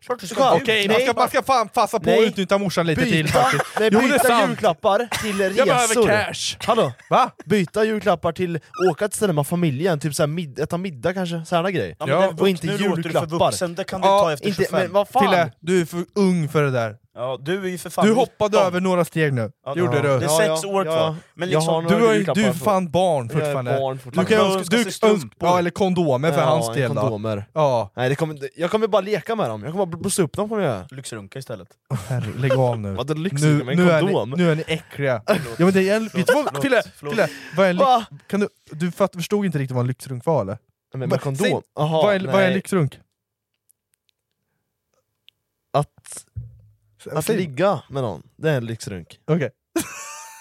Speaker 7: Klart du ska
Speaker 5: Okej,
Speaker 7: ha
Speaker 5: man,
Speaker 7: julklappar.
Speaker 5: ska, man ska fan passa på att
Speaker 10: Nej.
Speaker 5: utnyttja morsan lite
Speaker 10: byta,
Speaker 5: till faktiskt.
Speaker 10: Nej,
Speaker 5: Jo, det är
Speaker 10: byta
Speaker 5: sant.
Speaker 10: julklappar till resor.
Speaker 5: Jag behöver cash!
Speaker 10: Hallå?
Speaker 5: Va?
Speaker 10: Byta julklappar till åka till ställen med familjen, typ såhär mid, äta middag kanske, sådana grejer.
Speaker 7: Ja, men det är
Speaker 10: och
Speaker 7: vuxen-
Speaker 10: inte
Speaker 7: nu låter du för
Speaker 10: julklappar.
Speaker 7: vuxen, det kan du ta efter 25.
Speaker 10: Men vad fan?
Speaker 5: Tille, du är för ung för det där.
Speaker 7: Ja, du är ju för fan
Speaker 5: du hoppade
Speaker 7: 19.
Speaker 5: över några steg nu,
Speaker 7: Ja,
Speaker 5: gjorde du.
Speaker 7: Det är
Speaker 10: Ja,
Speaker 7: sex
Speaker 10: ja,
Speaker 7: år
Speaker 10: ja.
Speaker 7: kvar. Men
Speaker 10: Jag
Speaker 7: liksom,
Speaker 10: har några
Speaker 5: Du, är,
Speaker 10: julklappar
Speaker 5: du är
Speaker 10: för-
Speaker 5: fan barn
Speaker 10: Jag är
Speaker 5: fortfarande.
Speaker 10: barn
Speaker 5: Du
Speaker 10: fortfarande.
Speaker 5: kan
Speaker 7: Man
Speaker 5: önska,
Speaker 7: önskar
Speaker 5: du
Speaker 7: sig strumpor.
Speaker 5: önskar, ja, eller kondomer för
Speaker 10: Ja,
Speaker 5: hans del då.
Speaker 10: kondomer.
Speaker 5: Ja,
Speaker 10: Nej, det kommer, inte- jag kommer bara leka med dem, jag kommer bara blåsa upp dem kommer jag göra.
Speaker 7: Lyxrunka istället.
Speaker 5: herre, lägg av nu.
Speaker 10: Vadå lyxigt
Speaker 5: Nu,
Speaker 10: med en
Speaker 5: nu, är
Speaker 10: kondom?
Speaker 5: ni, nu är ni äckliga. ja, men det är, vet du vad,
Speaker 7: förlåt,
Speaker 5: Fille,
Speaker 7: förlåt.
Speaker 5: Fille, vad är en
Speaker 10: Va?
Speaker 5: lyx- kan du, du fatt, förstod inte riktigt vad en lyxrunk var eller?
Speaker 10: Men med
Speaker 5: Vad- säg-
Speaker 10: kondom? Aha,
Speaker 5: vad, är, vad är en
Speaker 10: nej.
Speaker 5: lyxrunk?
Speaker 10: Att, att
Speaker 5: Säg-
Speaker 10: ligga med någon, det är en lyxrunk.
Speaker 5: Okej.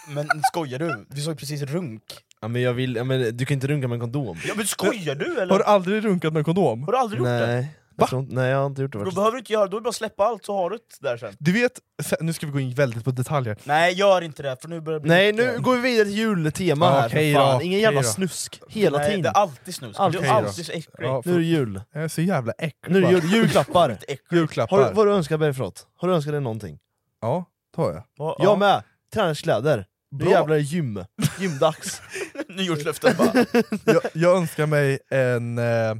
Speaker 7: Men skojar du? Vi sa ju precis runk.
Speaker 10: Ja, men jag vill, ja, men du kan inte runka med en kondom.
Speaker 7: Ja men skojar du eller? Har
Speaker 5: Har
Speaker 7: du,
Speaker 5: du aldrig runkat med kondom?
Speaker 7: aldrig gjort det?
Speaker 10: Nej, jag tror, inte- nej, jag har inte gjort det
Speaker 7: Då
Speaker 10: faktiskt.
Speaker 7: behöver du inte göra då är det bara att släppa allt så har du det där sen.
Speaker 5: Du vet, se- nu ska vi gå in väldigt på detaljer.
Speaker 7: Nej gör inte det för nu börjar det bli
Speaker 10: Nej,
Speaker 7: mycket.
Speaker 10: nu går vi vidare till jultema
Speaker 5: Ja,
Speaker 10: här
Speaker 5: Ah, okej
Speaker 10: för fan.
Speaker 5: då,
Speaker 10: Ingen
Speaker 5: okej
Speaker 10: jävla
Speaker 5: då.
Speaker 10: snusk, hela
Speaker 7: Nej,
Speaker 10: tiden.
Speaker 7: Det är alltid snus.
Speaker 10: Alltid
Speaker 7: Du är
Speaker 5: snus.
Speaker 7: alltid så äcklig.
Speaker 5: Ja, för-
Speaker 10: Nu är det jul.
Speaker 5: Jag är så jävla äcklig.
Speaker 10: Nu är det
Speaker 5: bara.
Speaker 10: jul. Julklappar.
Speaker 7: Äcklig.
Speaker 5: Julklappar.
Speaker 10: Har du, vad har du önskat dig för något? Har du önskat dig någonting?
Speaker 5: Ja, tar jag.
Speaker 7: Ja,
Speaker 10: Jag med! Träningskläder. Nu
Speaker 5: Bra.
Speaker 10: jävlar är gym. Gymdags.
Speaker 7: Nyårslöften bara.
Speaker 5: jag. Jag önskar mig en eh,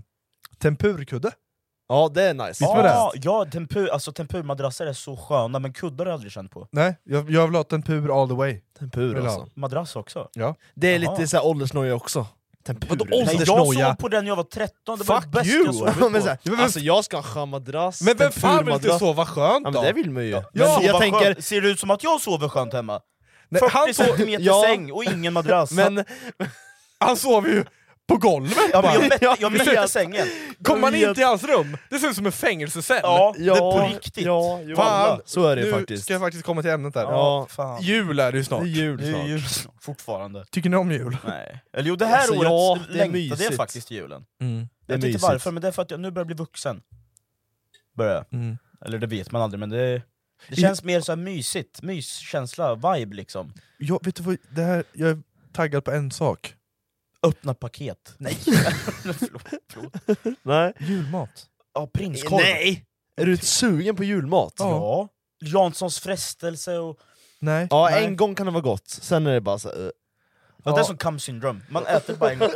Speaker 5: tempurkudde.
Speaker 10: ja, det är nice. Ah,
Speaker 5: Visst var det?
Speaker 7: Ja, ja tempur, alltså tempurmadrasser är så sköna, men kuddar har jag aldrig känt på.
Speaker 5: Nej, jag, jag vill ha tempur all the way.
Speaker 10: Tempur
Speaker 5: Vill ha.
Speaker 10: alltså.
Speaker 7: Madrass också.
Speaker 5: Ja.
Speaker 10: Det är
Speaker 7: Jaha.
Speaker 10: lite såhär åldersnoja också. Tempur.
Speaker 5: Vadå
Speaker 7: Nej,
Speaker 5: åldersnoja?
Speaker 7: jag sov på den när jag var 13, det var
Speaker 5: Fuck
Speaker 7: det bästa
Speaker 5: you!
Speaker 7: jag sov
Speaker 10: men så
Speaker 7: på.
Speaker 10: här, alltså jag ska ha en skön madrass,
Speaker 5: Men vem fan vill inte
Speaker 10: tempurmadrass.
Speaker 5: sova skönt
Speaker 10: Ja,
Speaker 5: då?
Speaker 10: men det vill man ju. Ja, men
Speaker 7: Ja,
Speaker 10: jag tänker,
Speaker 7: Ser det ut som att jag sover skönt hemma?
Speaker 5: Nej,
Speaker 7: 40
Speaker 5: han, sov,
Speaker 7: centimeter
Speaker 10: ja.
Speaker 7: säng och ingen madrass.
Speaker 10: men
Speaker 5: han sover ju på golvet
Speaker 7: ja, men
Speaker 5: bara.
Speaker 7: jag mätte,
Speaker 10: jag
Speaker 7: jag mätte
Speaker 10: vet.
Speaker 7: sängen.
Speaker 5: Kommer man
Speaker 10: jag
Speaker 5: in till hans rum, det ser ut som en fängelsecell!
Speaker 7: Ja, det
Speaker 10: ja,
Speaker 7: är på riktigt.
Speaker 10: Ja, jo,
Speaker 5: Fan.
Speaker 10: Så är det
Speaker 5: nu
Speaker 10: ju faktiskt.
Speaker 5: ska jag faktiskt komma till ämnet där.
Speaker 10: Ja,
Speaker 7: Fan.
Speaker 5: Jul är det ju
Speaker 10: Det är
Speaker 5: snart.
Speaker 10: jul
Speaker 7: Det är
Speaker 10: snart.
Speaker 7: jul snart, fortfarande.
Speaker 5: Tycker ni om jul?
Speaker 7: Nej. Eller jo, det här
Speaker 10: Alltså,
Speaker 7: året
Speaker 10: ja, det är
Speaker 7: längtade jag
Speaker 10: mysigt.
Speaker 7: faktiskt till julen.
Speaker 5: Mm.
Speaker 10: Det är
Speaker 7: Jag vet inte
Speaker 10: mysigt.
Speaker 7: varför, men det är för att jag nu börjar jag bli vuxen. Börjar jag.
Speaker 5: Mm.
Speaker 7: Eller det vet man aldrig, men det, det känns mer så här mysigt. Myskänsla, vibe liksom.
Speaker 5: Jag, vet du vad, det här, jag är taggad på en sak.
Speaker 7: Öppna paket. Nej! förlåt, förlåt.
Speaker 10: Nej.
Speaker 5: Julmat.
Speaker 7: Ja, prinskorv.
Speaker 10: Nej! Är du sugen på julmat?
Speaker 7: Ja. Janssons frestelse och...
Speaker 5: Nej.
Speaker 10: Ja,
Speaker 5: Nej.
Speaker 10: en gång kan det vara gott, sen är det bara så här, eh.
Speaker 7: Ja. Det är som cum syndrome, man äter bara en gång.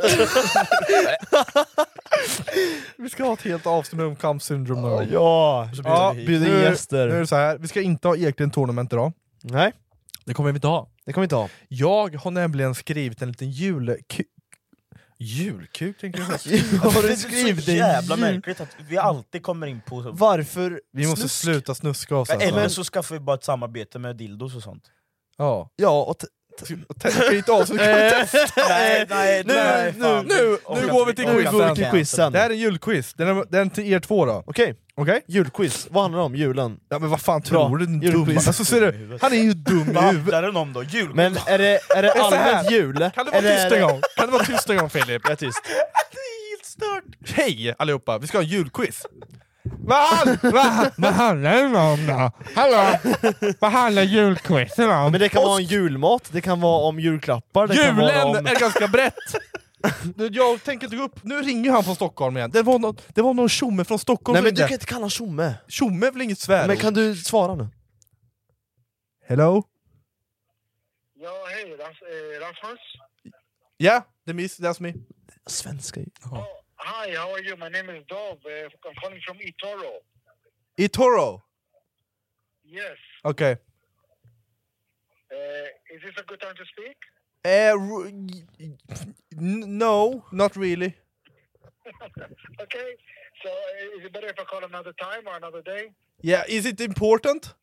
Speaker 5: Vi ska ha ett helt avsnitt om Camp Syndrome någon
Speaker 10: Ja,
Speaker 5: gång.
Speaker 10: ja.
Speaker 7: Så blir
Speaker 5: Ja,
Speaker 7: det-
Speaker 10: bjuder in
Speaker 5: nu-
Speaker 10: gäster.
Speaker 5: Nu är det så här. vi ska inte ha Eklind Tournament idag.
Speaker 10: Nej,
Speaker 5: Det kommer vi inte ha.
Speaker 10: det kommer vi inte ha.
Speaker 5: Jag har nämligen skrivit en liten jul... Julkuk tänker jag
Speaker 7: Ja,
Speaker 5: säga.
Speaker 7: det är så jävla märkligt att vi alltid kommer in på...
Speaker 12: Varför
Speaker 5: Vi måste sluta snuska oss.
Speaker 7: Men
Speaker 5: alltså.
Speaker 7: Eller så skaffar vi bara ett samarbete med dildos och sånt.
Speaker 5: Ja.
Speaker 12: Ja, och...
Speaker 5: Skit av så vi kan testa!
Speaker 7: Nej, nej,
Speaker 5: nu,
Speaker 7: nej,
Speaker 5: nu,
Speaker 7: fan.
Speaker 5: nu,
Speaker 7: Orkar
Speaker 5: nu
Speaker 7: inte,
Speaker 5: går vi till
Speaker 7: orkar inte. Nu går
Speaker 5: quizen!
Speaker 7: vi till quizen.
Speaker 5: Det här är en julquiz, den är, den är till er två då.
Speaker 12: Okej,
Speaker 5: okay?
Speaker 12: julquiz, vad handlar det om? Julen?
Speaker 5: Ja men vad fan tror du? Den dumma.
Speaker 12: julquiz.
Speaker 5: Alltså, ser du? Han är ju dum i
Speaker 7: Vad
Speaker 5: huvudet!
Speaker 7: handlar den om då? Jul?
Speaker 12: Men är det, är
Speaker 5: Det är
Speaker 12: det
Speaker 5: så
Speaker 12: allmänt
Speaker 5: här.
Speaker 12: jul?
Speaker 5: Kan du vara
Speaker 12: Eller är
Speaker 5: tyst
Speaker 12: det-
Speaker 5: en gång? Kan du vara tyst en gång Filip?
Speaker 12: Jag är tyst.
Speaker 5: Hej allihopa, vi ska ha en julquiz! Vad han- vad- vad handlar den om då? Hallå? Vad handlar julquizen om?
Speaker 12: Men det kan vara om julmat, det kan vara om julklappar, det kan vara om...
Speaker 5: Julen är ganska brett! Du, Jag tänker inte gå upp, nu ringer han från Stockholm igen. Det var någon, det var någon tjomme från Stockholm
Speaker 12: Nej men
Speaker 5: som
Speaker 12: du
Speaker 5: ringde.
Speaker 12: kan inte kalla honom tjomme!
Speaker 5: Tjomme är väl inget svärord?
Speaker 12: Men kan du svara nu?
Speaker 5: Hello?
Speaker 10: Ja, hej. Ras- eh, Rasmus?
Speaker 5: Ja, yeah, det miss, that's me.
Speaker 12: Svenska
Speaker 10: Hi, how are you? My name is Dov. Uh, I'm calling from eToro.
Speaker 5: Itoro!
Speaker 10: Yes.
Speaker 5: Okej.
Speaker 10: Uh, Eh, is this a good time to speak?
Speaker 5: Eh, r- n- no, not really.
Speaker 10: okay. So uh, is it better if I call another time or another day?
Speaker 5: Yeah, is it important?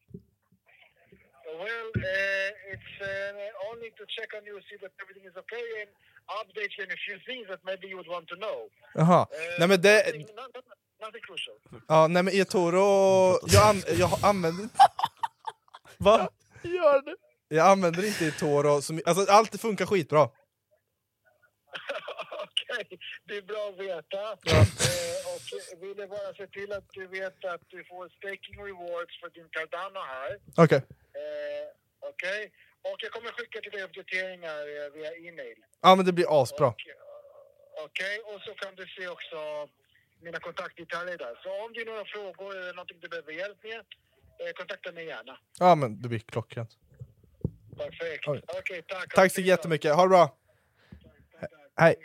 Speaker 10: Well, uh, it's uh, only to check on you, see that everything is okay, and update you in a few things that maybe you would want to know.
Speaker 5: Jaha.
Speaker 10: Eh,
Speaker 5: nej men det...
Speaker 10: Not, not, nothing crucial.
Speaker 5: Ja, nej men eToro... Jag, an, jag använder inte... Va?
Speaker 10: Gör det.
Speaker 5: Jag använder inte eToro som... Alltså allt funkar skitbra.
Speaker 10: Okej, det är bra att veta. Eh, och jag ville bara se till att du vet att du får staking rewards för din Cardano här.
Speaker 5: Okej.
Speaker 10: Eh, Okej? Och jag kommer skicka till dig uppdateringar eh, via e-mail.
Speaker 5: Ja men det blir asbra.
Speaker 10: Okej? Och så kan du se också mina kontaktdetaljer där. Så om det är några frågor eller någonting du behöver hjälp med, eh, kontakta mig gärna.
Speaker 5: Ja men det blir klockrent.
Speaker 10: Perfekt.
Speaker 5: Oj.
Speaker 10: Okej, tack.
Speaker 5: Tack så jättemycket, ha det bra! Hej.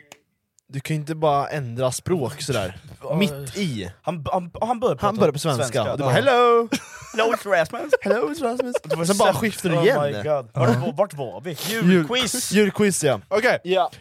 Speaker 12: Du kan ju inte bara ändra språk sådär, mitt i.
Speaker 7: Han, han, han börjar prata
Speaker 12: Han börjar på svenska, och du bara
Speaker 7: Ja.
Speaker 12: hello!
Speaker 7: Hello it's Rasmus!
Speaker 12: Hello it's Rasmus! Sen bara skiftar du igen.
Speaker 7: Oh my god. Vart, var- vart var vi? Julquiz!
Speaker 12: Julquiz ja.
Speaker 5: Okej,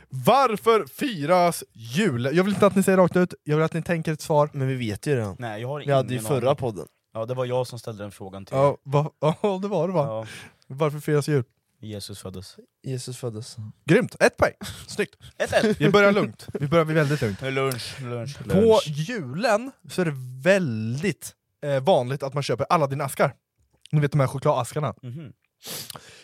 Speaker 5: varför firas jul? Jag vill inte att ni säger rakt ut, jag vill att ni tänker ett svar.
Speaker 12: Men vi vet ju redan.
Speaker 7: Nej, jag har
Speaker 12: Vi hade ju
Speaker 7: ingen
Speaker 12: förra
Speaker 7: aning.
Speaker 12: podden.
Speaker 7: Ja, det var jag som ställde den frågan till
Speaker 5: Ja, va, ja det var det va?
Speaker 7: Ja.
Speaker 5: Varför firas jul?
Speaker 7: Jesus föddes.
Speaker 12: Jesus föddes.
Speaker 5: Grymt! Ett poäng! Snyggt!
Speaker 7: Ett, ett.
Speaker 5: Vi börjar lugnt, vi börjar väldigt lugnt.
Speaker 7: Nu är lunch, lunch, lunch.
Speaker 5: På julen så är det väldigt eh, vanligt att man köper alla dina askar. Ni vet de här chokladaskarna.
Speaker 7: Mhm.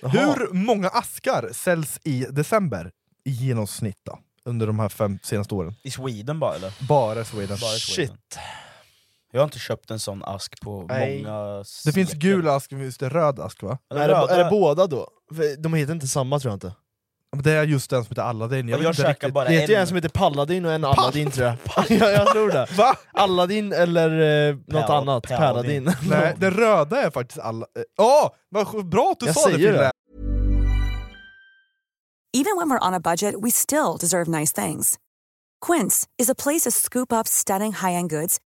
Speaker 5: Hur många askar säljs i december i genomsnitt då, under de här fem senaste åren?
Speaker 7: I Sweden bara eller?
Speaker 5: Bara Sweden.
Speaker 7: Bara Sweden. Jag har inte köpt en sån ask på
Speaker 5: Nej.
Speaker 7: många...
Speaker 5: Det finns gul ask, det finns det röd ask va?
Speaker 7: Ja,
Speaker 12: Är det,
Speaker 7: röda-
Speaker 12: är det båda då? För De heter inte samma tror jag inte.
Speaker 5: Men Det är just den som heter Aladdin. Jag,
Speaker 7: Jag
Speaker 5: vet inte
Speaker 7: käkar
Speaker 5: riktigt.
Speaker 7: bara
Speaker 12: det heter ju en som heter Palladin och en Aladdin tror jag. ja, jag tror det.
Speaker 5: Va?
Speaker 12: Aladdin eller eh, något
Speaker 5: Pal-
Speaker 12: annat. Paladin.
Speaker 5: Nej, den röda är faktiskt alla... eh, Åh! vad sj- bra att du
Speaker 12: Jag
Speaker 5: sa det
Speaker 12: säger
Speaker 5: Fille!
Speaker 12: det.
Speaker 3: Even when we're on a budget, we still deserve nice things. Quince is a place to scoop up stunning high-end goods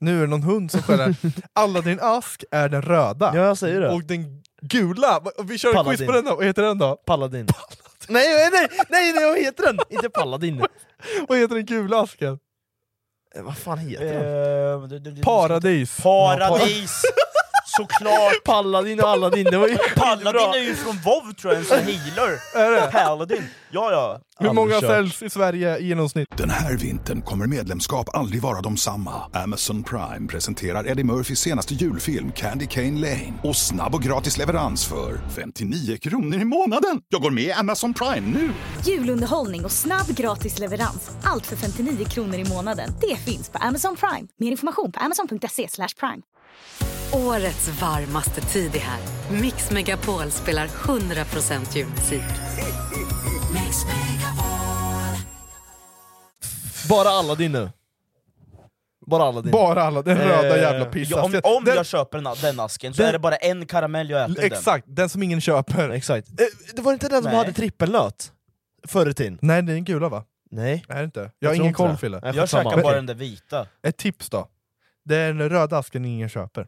Speaker 5: Nu är det någon hund som skäller. Aladdin ask är den röda.
Speaker 12: Ja, jag säger det.
Speaker 5: Och den gula, va- vi kör en quiz
Speaker 12: Paladin.
Speaker 5: på den då, vad heter den då?
Speaker 12: Paladin. Nej, nej, nej, nej, vad heter den? Inte
Speaker 7: Eh,
Speaker 12: Paladin.
Speaker 5: Vad heter den gula asken?
Speaker 12: Eh, Vad fan heter den?
Speaker 7: Eh, det- det- det-
Speaker 5: Paradis!
Speaker 7: Paradis! Såklart!
Speaker 12: Paladin och Aladdin, det var ju
Speaker 7: Paladin är ju från WoW tror jag, en sån healer!
Speaker 5: Är det?
Speaker 7: Paladin! Ja ja!
Speaker 5: Hur många
Speaker 4: Aldrig kört.
Speaker 5: säljs i Sverige i genomsnitt?
Speaker 4: Den här vintern kommer medlemskap aldrig vara de samma. Amazon Prime presenterar Eddie Murphys senaste julfilm Candy Cane Lane. Och snabb och gratis leverans för 59 kronor i månaden. Jag går med i Amazon Prime nu!
Speaker 2: Julunderhållning och snabb gratis leverans. Allt för 59 kronor i månaden. Det finns på Amazon Prime. Mer information på amazon.se slash prime.
Speaker 13: Årets varmaste tid är här. Mix Megapol spelar 100% julmusik.
Speaker 10: Bara Aladdin nu. Bara Aladdin.
Speaker 5: Bara Aladdin, den röda jävla
Speaker 7: Eh, Ja, om
Speaker 5: pissasken.
Speaker 7: om
Speaker 5: Den-
Speaker 7: jag köper den, den asken så
Speaker 5: den-
Speaker 7: är det bara en karamell jag äter
Speaker 5: Exakt, den som ingen köper. Eh,
Speaker 10: Exakt. Det var inte den som
Speaker 7: Nej.
Speaker 10: hade trippelnöt förr i tiden.
Speaker 5: Nej, det är en gula va?
Speaker 10: Nej.
Speaker 5: Är det inte? Jag,
Speaker 10: Jag
Speaker 5: har
Speaker 10: tror
Speaker 5: ingen
Speaker 10: inte
Speaker 5: koll
Speaker 10: det.
Speaker 5: Fille.
Speaker 10: Jag Jag skitsamma. käkar bara den
Speaker 7: där vita.
Speaker 5: Ett tips då. Det är den röda asken ingen köper.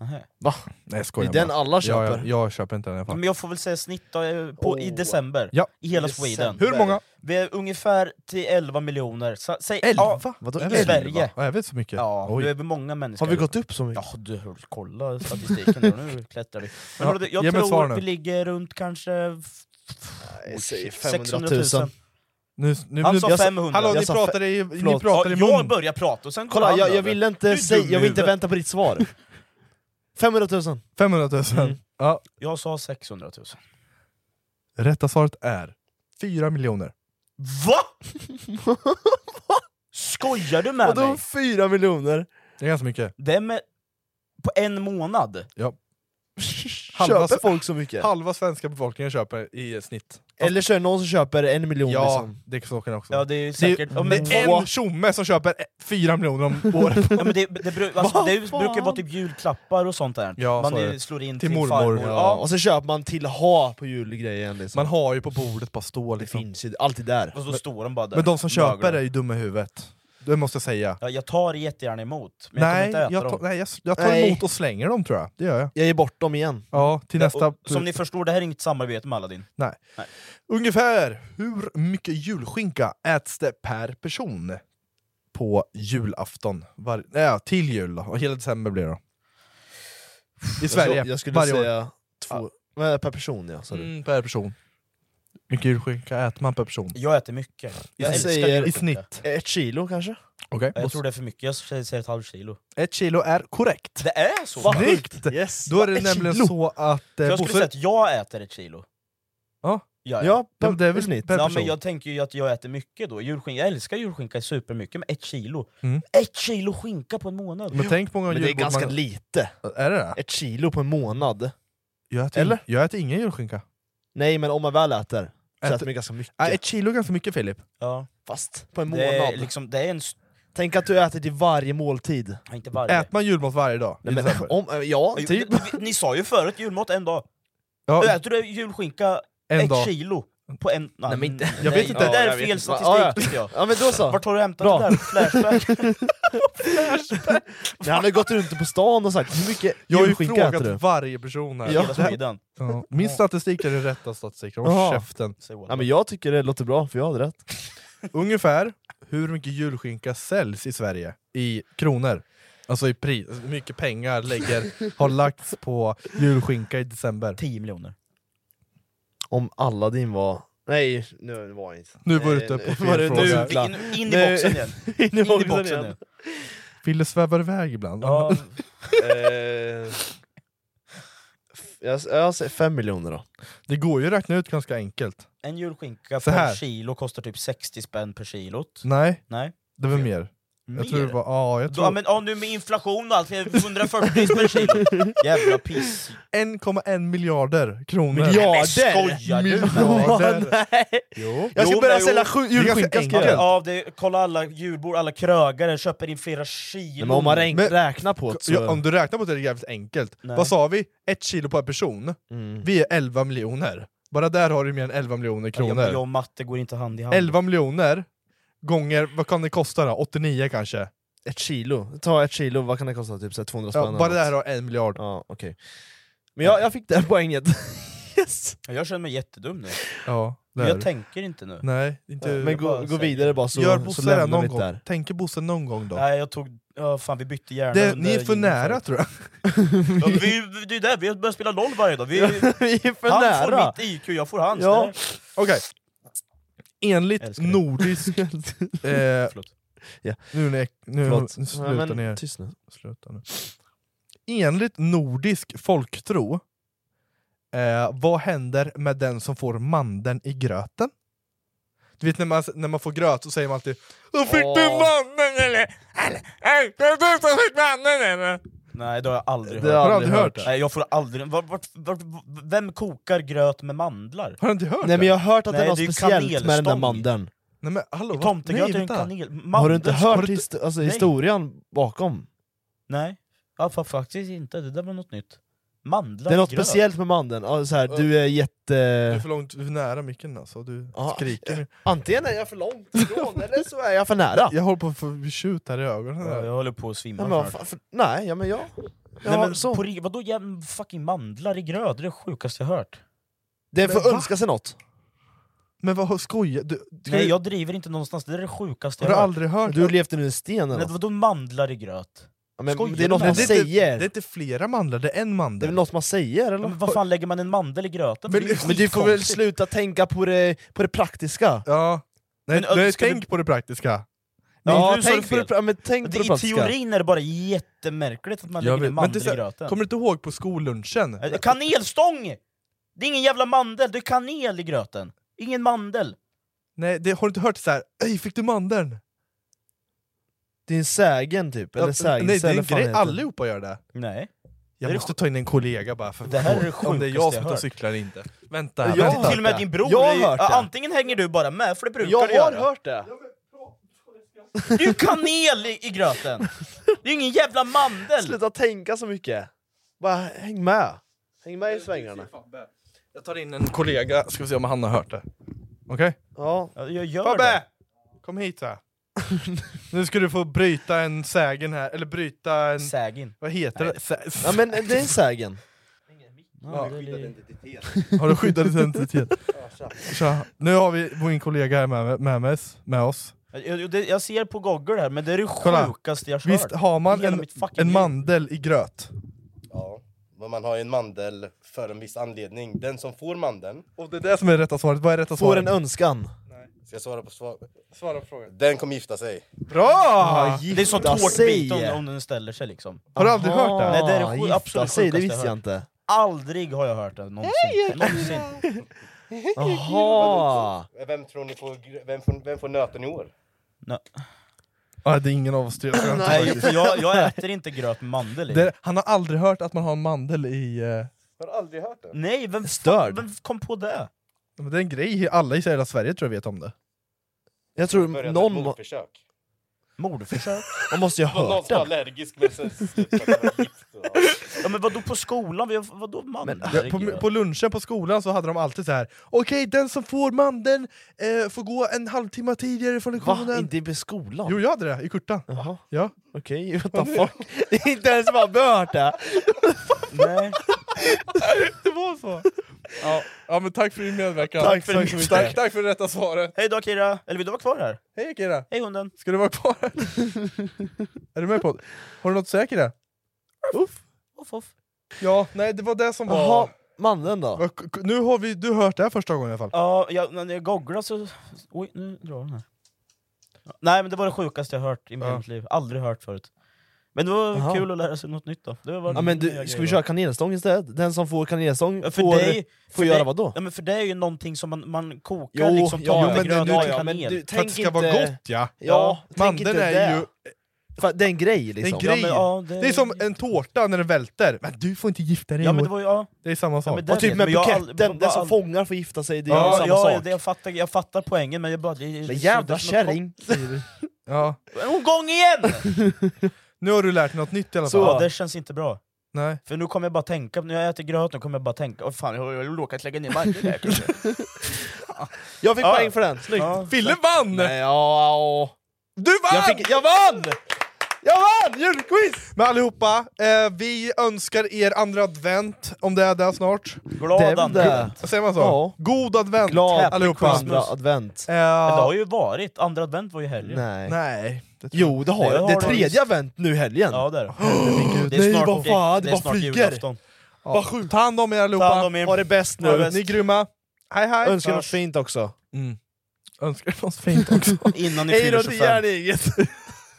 Speaker 7: Nähä.
Speaker 10: Va?
Speaker 5: Nej jag skojar
Speaker 10: Det är den
Speaker 5: bara.
Speaker 10: alla köper.
Speaker 5: Jag, jag, jag köper inte den i alla
Speaker 7: den.
Speaker 5: fall.
Speaker 7: Men jag får väl säga snitt då, eh, på, i december,
Speaker 5: Ja.
Speaker 7: i hela
Speaker 5: December.
Speaker 7: Sweden.
Speaker 5: Hur många?
Speaker 7: Vi är ungefär till 11 miljoner. Så, säg,
Speaker 5: 11?
Speaker 7: Ja,
Speaker 5: Vadå,
Speaker 10: Eh,
Speaker 7: I
Speaker 5: 11?
Speaker 7: Sverige.
Speaker 5: Ja, jag vet så mycket.
Speaker 7: Ja,
Speaker 5: Oj.
Speaker 7: nu är vi många människor.
Speaker 5: Har vi gått upp så mycket?
Speaker 7: Ja, du, hör- kolla statistiken där, nu klättrar vi. Men
Speaker 5: Ja,
Speaker 7: hörru du, jag
Speaker 5: ge mig ett svar
Speaker 7: tror
Speaker 5: nu.
Speaker 7: vi ligger runt kanske... f-
Speaker 10: Nej,
Speaker 7: säg
Speaker 10: 500 000.
Speaker 5: Nu, nu,
Speaker 7: Han
Speaker 5: nu,
Speaker 7: sa
Speaker 5: jag
Speaker 7: 500.
Speaker 5: Hallå, ni
Speaker 7: Jag sa fe-
Speaker 5: pratar i, ni
Speaker 7: Förlåt.
Speaker 5: pratar i
Speaker 7: Ja, jag
Speaker 5: mun.
Speaker 7: börjar prata och sen går
Speaker 10: Kolla,
Speaker 7: han
Speaker 10: jag, jag
Speaker 7: över.
Speaker 10: vill
Speaker 7: Du
Speaker 10: inte,
Speaker 7: är
Speaker 10: säg,
Speaker 7: dum
Speaker 10: jag
Speaker 7: i
Speaker 10: vill inte
Speaker 7: huvudet.
Speaker 10: vänta på ditt svar. 500 000.
Speaker 5: 500 000.
Speaker 7: Mm.
Speaker 5: Ja.
Speaker 7: Jag sa 600 000.
Speaker 5: Rätta svaret är 4 miljoner.
Speaker 7: Va? Skojar du med
Speaker 10: Vadå
Speaker 7: mig?
Speaker 10: fyra miljoner?
Speaker 5: Det är ganska mycket.
Speaker 7: Det är med, på en månad?
Speaker 5: Ja.
Speaker 10: Köper folk så mycket?
Speaker 5: Halva svenska befolkningen köper i snitt.
Speaker 10: Eller så är det någon som köper en miljon
Speaker 5: Ja,
Speaker 10: liksom.
Speaker 5: det kan åka också.
Speaker 7: Ja, det är ju
Speaker 5: Det är,
Speaker 7: säkert...
Speaker 5: det är en tjomme som köper 4 miljoner om året.
Speaker 7: Ja, men det, det, bru- alltså,
Speaker 10: Vad
Speaker 7: det
Speaker 10: fan?
Speaker 7: brukar vara typ julklappar och sånt där.
Speaker 5: Ja,
Speaker 7: man
Speaker 5: så är
Speaker 7: eh,
Speaker 5: det.
Speaker 7: slår in
Speaker 5: Till
Speaker 7: till,
Speaker 5: mormor.
Speaker 7: farmor.
Speaker 5: Ja.
Speaker 10: Ja, och så köper man till ha på julgrejen liksom.
Speaker 5: Man har ju på bordet, bara står liksom.
Speaker 10: Det finns ju alltid där.
Speaker 7: Och så står de bara där.
Speaker 5: Men de som köper
Speaker 7: Möglar.
Speaker 5: är ju dumma i huvudet. Det måste jag säga.
Speaker 7: Ja, jag tar jättegärna emot, men jag kommer
Speaker 5: Nej,
Speaker 7: inte äta
Speaker 5: jag,
Speaker 7: dem.
Speaker 5: tar- nej jag, jag tar
Speaker 7: Nej.
Speaker 5: emot och slänger dem tror jag. Det gör jag.
Speaker 10: Jag ger bort dem igen.
Speaker 5: Ja, till nästa...
Speaker 7: Och, som ni förstår, det här är inget samarbete med Aladdin.
Speaker 5: Nej. Ungefär hur mycket julskinka äts det per person på julafton? Var, nej, till jul då. Och hela december blir det då. I
Speaker 10: Jag
Speaker 5: Sverige.
Speaker 10: skulle- Jag skulle
Speaker 5: varje år.
Speaker 10: säga två... Ja. Per person ja, sa du.
Speaker 5: Mm, per person. mycket julskinka äter man per person?
Speaker 7: Jag äter mycket. Jag
Speaker 10: Jag
Speaker 7: älskar
Speaker 10: säger
Speaker 7: julskinka.
Speaker 10: i snitt ett kilo kanske?
Speaker 5: Okej.
Speaker 7: Jag tror det är för mycket, jag säger ett halvt kilo.
Speaker 5: Ett kilo är korrekt.
Speaker 7: Det är så?
Speaker 5: Snyggt!
Speaker 10: Yes.
Speaker 5: Då är det
Speaker 7: Ett
Speaker 5: nämligen
Speaker 7: kilo.
Speaker 5: så att...
Speaker 7: För
Speaker 5: eh,
Speaker 7: jag skulle säga att jag äter ett kilo.
Speaker 5: Ja,
Speaker 7: Ja,
Speaker 5: ja. men det är väl per
Speaker 7: ja,
Speaker 5: person.
Speaker 7: men jag tänker ju att jag äter mycket då. Julskinka, jag älskar julskinka supermycket, men ett kilo.
Speaker 5: Mm.
Speaker 7: Ett kilo skinka på en månad!
Speaker 5: Men tänk på många
Speaker 10: Men det är
Speaker 5: julbord
Speaker 10: ganska
Speaker 5: man-
Speaker 10: lite.
Speaker 5: Är det det?
Speaker 10: Ett kilo på en månad.
Speaker 5: Jag äter,
Speaker 10: Eller?
Speaker 5: jag äter ingen julskinka.
Speaker 10: Nej men om man väl äter, så
Speaker 5: Äter- Äh,
Speaker 10: äter man ganska mycket.
Speaker 5: Nej, ett kilo är ganska mycket Filip.
Speaker 7: Ja.
Speaker 10: Fast på en
Speaker 7: Det är
Speaker 10: månad.
Speaker 7: liksom, det är en... s-
Speaker 10: Tänk att du äter till varje måltid.
Speaker 7: Nej, inte varje.
Speaker 5: Äter man julmat varje dag? Liksom. i
Speaker 10: Nej, men,
Speaker 5: december?
Speaker 10: om, ja,
Speaker 7: Jo,
Speaker 10: typ.
Speaker 7: ni- Ni sa ju förut julmat en dag.
Speaker 5: Ja,
Speaker 7: Då äter du julskinka
Speaker 5: En
Speaker 7: ett
Speaker 5: dag.
Speaker 7: kilo på en... Nej,
Speaker 10: men inte-
Speaker 7: nej,
Speaker 5: Jag vet inte.
Speaker 7: Det där
Speaker 10: Ja,
Speaker 7: är
Speaker 10: jag vet
Speaker 7: fel
Speaker 10: inte.
Speaker 7: statistik
Speaker 10: Ja, ja.
Speaker 7: tycker jag.
Speaker 10: Ja men då så.
Speaker 7: Vart har du hämtat
Speaker 10: Bra.
Speaker 7: det där? Flashback?
Speaker 10: Nej, han har gått runt på stan och sagt hur mycket
Speaker 5: jag har ju
Speaker 10: julskinka äter du?
Speaker 5: frågat varje person här.
Speaker 10: Ja.
Speaker 7: Hela Sweden.
Speaker 5: Ja. Min statistik är den rätta statistiken, håll
Speaker 10: Jaha.
Speaker 5: käften.
Speaker 7: Säg åt
Speaker 10: Ja,
Speaker 7: mig.
Speaker 10: men jag tycker det låter bra, för jag hade rätt.
Speaker 5: Ungefär hur mycket julskinka säljs i Sverige i kronor? Alltså i pris, hur mycket pengar lägger, har lagts på julskinka i december.
Speaker 7: 10 miljoner.
Speaker 10: Om Aladdin var... Nej, nu var det inte.
Speaker 5: Nu var du
Speaker 10: Nej,
Speaker 5: ute på
Speaker 10: nu
Speaker 5: fel
Speaker 10: Eh, var det-
Speaker 5: fråga.
Speaker 10: nu-
Speaker 7: In, in, in
Speaker 10: Nu-
Speaker 7: i boxen igen.
Speaker 10: In i boxen
Speaker 7: boxen
Speaker 10: igen.
Speaker 7: igen.
Speaker 5: Ville svävar iväg ibland.
Speaker 7: Ja,
Speaker 10: Eh, f- Jag, jag säger fem miljoner då.
Speaker 5: Det går ju att räkna ut ganska enkelt.
Speaker 7: en julskinka
Speaker 5: Så här.
Speaker 7: per kilo kostar typ 60 spänn per kilot.
Speaker 10: Mm.
Speaker 5: Nej,
Speaker 7: Nej.
Speaker 5: det var mer. Jag tror det var, ja, jag
Speaker 7: Då,
Speaker 5: tror
Speaker 7: ja, men, ja, nu med inflation och allt, det är 140 per kilo. Jävla piss.
Speaker 5: 1,1 miljarder kronor.
Speaker 10: Miljarder!
Speaker 7: Skojar du?
Speaker 5: Miljarder!
Speaker 10: Nej.
Speaker 5: Jo.
Speaker 10: Jag ska
Speaker 7: Jo,
Speaker 10: börja
Speaker 7: men jo.
Speaker 10: sälja sju-
Speaker 5: är ganska
Speaker 10: julskinka. ska jag
Speaker 5: enkelt.
Speaker 10: göra.
Speaker 7: Ja, det, kolla alla julbord, alla krögare köper in flera kilo.
Speaker 10: Men om man räk-
Speaker 5: Men-
Speaker 10: räknar på det så...
Speaker 5: Ja, om du räknar på det, det är jävligt enkelt.
Speaker 7: Nej.
Speaker 5: Vad sa vi? Ett kilo per person.
Speaker 10: Mm.
Speaker 5: Vi är 11 miljoner. Bara där har du mer än 11 miljoner
Speaker 7: Ja,
Speaker 5: kronor.
Speaker 7: men jag och matte går inte hand i hand.
Speaker 5: 11 miljoner gånger, vad kan det kosta då? 89 kanske?
Speaker 10: Ett kilo. Ta ett kilo, vad kan det kosta? Typ så här 200 spänn?
Speaker 5: Ja,
Speaker 10: eller
Speaker 5: bara
Speaker 10: något.
Speaker 5: där har en miljard.
Speaker 10: Ja, okej. Men jag, jag fick det här poänget. yes.
Speaker 7: Jag känner mig jättedum nu.
Speaker 5: Ja,
Speaker 7: Men
Speaker 5: där.
Speaker 7: jag tänker inte nu.
Speaker 5: Nej, inte...
Speaker 10: Men
Speaker 7: bara
Speaker 10: gå, gå
Speaker 7: säger-
Speaker 10: vidare bara så,
Speaker 5: Gör
Speaker 10: så
Speaker 5: Bosse det
Speaker 10: lämnar vi
Speaker 5: någon
Speaker 10: det
Speaker 5: gång?
Speaker 10: där.
Speaker 5: Tänker Bosse någon gång då?
Speaker 7: Nej, jag tog... Ja, fan, vi bytte hjärna.
Speaker 5: Det,
Speaker 7: under
Speaker 5: ni är för
Speaker 7: gingen
Speaker 5: nära
Speaker 7: förut.
Speaker 5: tror jag.
Speaker 7: Ja, vi, det är där, vi har börjat spela LOL varje dag. Vi,
Speaker 10: vi är för
Speaker 7: han
Speaker 10: nära!
Speaker 7: får mitt IQ, jag får hans.
Speaker 10: Ja.
Speaker 7: eller?
Speaker 5: Okej. Enligt
Speaker 7: Älskar dig.
Speaker 5: nordisk... eh,
Speaker 7: Förlåt.
Speaker 10: Ja.
Speaker 5: Nu, när jag- nu,
Speaker 10: Förlåt.
Speaker 5: nu
Speaker 10: Ja,
Speaker 5: slutar
Speaker 10: men
Speaker 5: ni.
Speaker 10: Tyst nu.
Speaker 5: Sluta nu. Enligt nordisk folktro, eh, vad händer med den som får mandeln i gröten? Du vet när man, när man får gröt så säger man alltid Då fick du
Speaker 10: Åh.
Speaker 5: mandeln eller? eller, eller, Det är du som fick mandeln eller?
Speaker 7: Nej, det har jag aldrig
Speaker 10: Det har
Speaker 7: hört.
Speaker 5: Har
Speaker 10: jag
Speaker 5: du aldrig
Speaker 10: aldrig
Speaker 5: hört
Speaker 10: hört.
Speaker 5: det?
Speaker 7: Nej, jag får aldrig... Vart, vart, vart, vem kokar gröt med mandlar?
Speaker 5: Har du inte hört
Speaker 10: Nej
Speaker 5: det?
Speaker 10: men jag har hört att
Speaker 7: Nej,
Speaker 10: det är något
Speaker 7: det är ju
Speaker 10: speciellt med den där
Speaker 7: kanelstång.
Speaker 10: mandeln.
Speaker 5: Nej men hallå,
Speaker 7: I
Speaker 5: vad-
Speaker 7: tomtegröt
Speaker 5: nej,
Speaker 7: är en
Speaker 5: vänta.
Speaker 7: kanel. Mandel-
Speaker 10: Har du inte
Speaker 7: Har
Speaker 10: hört
Speaker 7: du
Speaker 10: hist- alltså,
Speaker 7: Nej.
Speaker 10: historien bakom?
Speaker 7: Nej, ja, fa- faktiskt inte. Det där var något nytt. Mandlar
Speaker 10: Det är något
Speaker 7: i gröt.
Speaker 10: speciellt med mandeln, ja, så här, du är jätte...
Speaker 5: Du är för långt, du är för nära micken alltså, du skriker.
Speaker 10: Antingen är jag för långt ifrån eller så är jag för nära.
Speaker 5: Jag håller på att få tjut här i ögonen.
Speaker 7: Ja, jag håller på att svimma
Speaker 10: Nej, men vad
Speaker 7: snart.
Speaker 10: fan, för, nej, ja, men jag... jag
Speaker 7: Nej,
Speaker 10: har-
Speaker 7: men på, ri- vadå jäm- fucking mandlar i gröt? Det är det sjukaste jag hört.
Speaker 10: det
Speaker 7: Men
Speaker 10: får
Speaker 7: va?
Speaker 10: önska sig något.
Speaker 5: Men vad skojar du?
Speaker 7: Nej jag driver inte någonstans, det är det sjukaste jag
Speaker 10: Du har levt under en sten eller
Speaker 7: Nej,
Speaker 10: något.
Speaker 7: vadå mandlar i gröt?
Speaker 10: Ja, men
Speaker 7: Skojar
Speaker 10: det är
Speaker 7: du
Speaker 10: något
Speaker 7: med
Speaker 10: man
Speaker 7: mig?
Speaker 10: säger.
Speaker 5: Det är inte flera mandlar, det är en mandel.
Speaker 10: Det är väl något man säger eller?
Speaker 7: Men vad fan lägger man en mandel i gröten?
Speaker 10: Men,
Speaker 7: Det är ju
Speaker 10: men du får väl
Speaker 7: skitkonstigt.
Speaker 10: sluta tänka på det, på det praktiska?
Speaker 5: Ja, nej,
Speaker 10: Men,
Speaker 5: nej,
Speaker 10: ska du-
Speaker 5: tänk på det praktiska.
Speaker 10: ja,
Speaker 7: nu sa
Speaker 10: tänk
Speaker 7: du
Speaker 10: på det,
Speaker 7: fel.
Speaker 10: pra- men tänk
Speaker 7: Det-
Speaker 10: på det
Speaker 7: I
Speaker 10: praktiska.
Speaker 7: teorin är det bara jättemärkligt att man
Speaker 5: Jag
Speaker 7: lägger
Speaker 5: vet,
Speaker 7: en
Speaker 5: men det är
Speaker 7: mandel
Speaker 5: så
Speaker 7: i
Speaker 5: här,
Speaker 7: gröten.
Speaker 5: kommer du inte ihåg på skollunchen?
Speaker 7: Eh, Kanelstång! Det är ingen jävla mandel, det är kanel i gröten. Ingen mandel.
Speaker 5: Nej, det, har du inte hört så här? Ej, fick du mandeln?
Speaker 10: Det är en sägen typ, eller
Speaker 5: Ja,
Speaker 10: sägen,
Speaker 5: Nej, det är
Speaker 10: eller
Speaker 5: en
Speaker 10: vad fan
Speaker 5: grej,
Speaker 10: heter det?
Speaker 5: allihopa gör det.
Speaker 7: Nej.
Speaker 5: Jag
Speaker 7: Det är
Speaker 5: måste ta in en kollega bara för att
Speaker 7: Det här är det
Speaker 5: förstå om det är jag
Speaker 7: sjukaste jag
Speaker 5: som är ute och
Speaker 7: hört.
Speaker 5: cyklar eller inte. Vänta,
Speaker 7: jag
Speaker 5: vänta.
Speaker 7: Till och med din bror,
Speaker 5: Jag har
Speaker 7: är ju-
Speaker 5: hört
Speaker 7: ja,
Speaker 5: det.
Speaker 7: antingen hänger du bara med, för det brukar
Speaker 10: Jag
Speaker 7: du
Speaker 10: har
Speaker 7: göra.
Speaker 10: hört det!
Speaker 7: Det är ju kanel i, i gröten! Det är ju ingen jävla mandel!
Speaker 10: Sluta tänka så mycket! Bara häng med! Häng med i svängarna.
Speaker 5: Jag tar in en kollega, ska vi se om han har hört det. Okej?
Speaker 10: Ja.
Speaker 7: Jag gör
Speaker 5: Fabbe! Kom hit så här. Nu ska du få bryta en sägen här, eller bryta en...
Speaker 7: Sägen?
Speaker 5: Vad heter det? Sä...
Speaker 10: Ja men eh, det är en sägen.
Speaker 5: Ja.
Speaker 10: identitet.
Speaker 5: Har du skyddad identitet? Tja. Nu har vi min kollega här med, med, med, oss, med oss.
Speaker 7: Jag, jag, det- jag ser på Google här, men det är det
Speaker 5: Kolla.
Speaker 7: sjukaste jag har hört.
Speaker 5: Visst har man
Speaker 7: Hela
Speaker 5: en,
Speaker 7: mitt fucking
Speaker 5: en
Speaker 7: liv.
Speaker 5: mandel i gröt?
Speaker 14: Ja, men man har ju en mandel för en viss anledning. Den som får mandeln...
Speaker 5: Och det är det som är rätta svaret. Vad är rätta
Speaker 10: Får
Speaker 5: svaret?
Speaker 10: en önskan.
Speaker 14: Ska jag svara på, svar...
Speaker 5: svara på frågan?
Speaker 14: Den kommer gifta sig.
Speaker 5: Bra!
Speaker 7: Ah, det är som
Speaker 14: gifta
Speaker 7: tårtbit
Speaker 14: sig.
Speaker 7: om, om den ställer sig liksom.
Speaker 14: Har du aldrig
Speaker 7: Aha.
Speaker 14: hört det?
Speaker 7: Nej, det är det sju-
Speaker 14: Gifta
Speaker 7: absolut
Speaker 14: sig, det
Speaker 7: sjukaste
Speaker 14: visste jag
Speaker 7: hört.
Speaker 14: inte.
Speaker 7: Aldrig har jag hört det någonsin. någonsin.
Speaker 10: Jaha!
Speaker 14: Vem tror ni får, gr- vem får, vem får nöten i år?
Speaker 5: Ah, det är ingen av oss tre.
Speaker 7: Nej, för jag, jag äter inte gröt med mandel i.
Speaker 5: Det, han har aldrig hört att man har en mandel i... eh,
Speaker 14: Har du aldrig hört
Speaker 10: Mm,
Speaker 14: det?
Speaker 7: Nej, vem,
Speaker 5: Störd.
Speaker 7: vem kom på det?
Speaker 5: men det är en grej, i- alla i hela Sverige tror jag vet om det.
Speaker 10: Jag
Speaker 14: Började
Speaker 10: tror
Speaker 14: ett
Speaker 10: någon... må-
Speaker 14: mordförsök.
Speaker 7: Mordförsök?
Speaker 10: Man måste ju
Speaker 14: Det var
Speaker 10: ha
Speaker 14: någon
Speaker 10: hört
Speaker 14: som var
Speaker 10: den.
Speaker 14: allergisk men sen slutade det vara gift.
Speaker 7: Ja, men vadå på skolan? Vi har- Vadå mandel? i
Speaker 5: Ja,
Speaker 7: gröt?
Speaker 5: på, på lunchen på skolan så hade de alltid så här. Okej, den som får mandeln eh, får gå en halvtimme tidigare från lektionen.
Speaker 10: Va? Inte i skolan?
Speaker 5: Jo, jag hade det i kurtan. Ja.
Speaker 10: Okej, what the fuck? inte ens Fabbe har hört det!
Speaker 7: Nej.
Speaker 5: det var så. Ja. ja, men tack för din medverkan.
Speaker 7: Tack för
Speaker 5: Tack
Speaker 7: din
Speaker 5: så
Speaker 7: medverkan.
Speaker 5: mycket. Tack, tack för det rätta svaret.
Speaker 7: Hej då Kira! Eller vill du vara kvar här?
Speaker 5: Hej Kira!
Speaker 7: Hej hunden!
Speaker 5: Ska du vara kvar? är du med på det? Har du något att säga Kira? Uff.
Speaker 7: Off, off.
Speaker 5: Ja, nej det var det som var...
Speaker 7: Jaha,
Speaker 10: mannen då?
Speaker 5: Nu har vi, du hört det här första gången i alla fall.
Speaker 7: Ja, jag, när jag googlar så... Oj, nu drar den här. Ja, Nej men det var det sjukaste jag hört i
Speaker 10: Ja.
Speaker 7: mitt liv. Aldrig hört förut. Men det var
Speaker 10: Jaha.
Speaker 7: kul att lära sig något nytt då. Det var
Speaker 10: Ja, men du, ska vi köra kanelstång istället? Den som får kanelstång
Speaker 7: Ja, för
Speaker 10: får,
Speaker 7: dig,
Speaker 10: får
Speaker 7: för
Speaker 10: göra
Speaker 7: dig,
Speaker 10: vad då?
Speaker 7: Ja, men för det är ju någonting som man, man kokar,
Speaker 10: Jo,
Speaker 7: liksom
Speaker 10: ja,
Speaker 7: tar
Speaker 10: men
Speaker 7: gröt
Speaker 10: du-
Speaker 7: och
Speaker 10: ja,
Speaker 7: kanel.
Speaker 10: men du-
Speaker 5: För att det ska
Speaker 10: tänk
Speaker 5: vara
Speaker 10: inte-
Speaker 5: gott ja!
Speaker 10: Ja, tänk
Speaker 5: Mandeln
Speaker 10: inte
Speaker 5: är
Speaker 10: det.
Speaker 5: ju...
Speaker 10: För att det är en grej
Speaker 5: Det är en
Speaker 10: liksom.
Speaker 5: grej!
Speaker 10: Ja, men, ja,
Speaker 5: det... är som en tårta när den välter. Men du får inte gifta dig
Speaker 7: Ja
Speaker 5: i
Speaker 7: men
Speaker 5: år.
Speaker 7: det var ju... Ja.
Speaker 5: Det är samma sak.
Speaker 7: men det
Speaker 10: och typ
Speaker 7: vet-
Speaker 10: med
Speaker 7: men jag har
Speaker 10: buketten,
Speaker 7: aldrig-
Speaker 10: den
Speaker 7: bara
Speaker 10: som
Speaker 7: aldrig-
Speaker 10: fångar får gifta sig, det är
Speaker 7: Ja,
Speaker 10: samma
Speaker 7: ja,
Speaker 10: sak.
Speaker 7: det, jag, fattar, jag fattar poängen men jag bara... Det, det,
Speaker 10: Men jävla
Speaker 7: det känns som något
Speaker 10: kärring!
Speaker 5: Ja.
Speaker 7: En gång igen!
Speaker 5: Nu har du lärt dig något nytt i alla fall.
Speaker 7: Så, det känns inte bra.
Speaker 5: Nej.
Speaker 7: För nu kommer jag bara tänka, när jag äter gröt nu kommer jag bara tänka, åh fan jag har jag råkat lägga ner marken där kanske."
Speaker 10: Jag fick
Speaker 7: Ja.
Speaker 10: poäng för den, snyggt!
Speaker 7: Ja.
Speaker 5: Fille vann!
Speaker 10: Nej, ja, ja.
Speaker 5: Du vann!
Speaker 10: Jag, fick, jag vann! Jag vann! Julquiz!
Speaker 5: Men allihopa, eh, vi önskar er andra advent, om det är det snart.
Speaker 7: Glad Det är väl advent.
Speaker 5: Säger man så?
Speaker 10: Ja.
Speaker 5: God advent
Speaker 10: Glad
Speaker 5: allihopa!
Speaker 10: andra advent.
Speaker 5: Eh,
Speaker 7: Men det har ju varit, andra advent var ju helgen.
Speaker 10: Nej.
Speaker 5: Nej. Det tror
Speaker 10: Jo det har
Speaker 7: Det
Speaker 10: det,
Speaker 7: har
Speaker 10: det är
Speaker 7: det
Speaker 10: tredje
Speaker 7: visst.
Speaker 10: advent nu i helgen!
Speaker 7: Ja det är det.
Speaker 10: Herregud.
Speaker 7: Det är
Speaker 10: Nej
Speaker 7: snart-
Speaker 10: vad fan, det,
Speaker 7: det är
Speaker 10: bara
Speaker 7: snart
Speaker 10: flyger!
Speaker 7: julafton.
Speaker 5: jag. Bara sjukt. Ta hand om er allihopa,
Speaker 7: Ta hand om er.
Speaker 10: Ha det bäst
Speaker 5: Ha det
Speaker 10: nu!
Speaker 5: bäst. ni är grymma. Hej hej!
Speaker 10: Önskar något fint också!
Speaker 5: Mm. Önskar er något fint också.
Speaker 7: Innan ni
Speaker 10: Hej
Speaker 7: fyller
Speaker 10: då till
Speaker 7: 25.
Speaker 10: järngänget!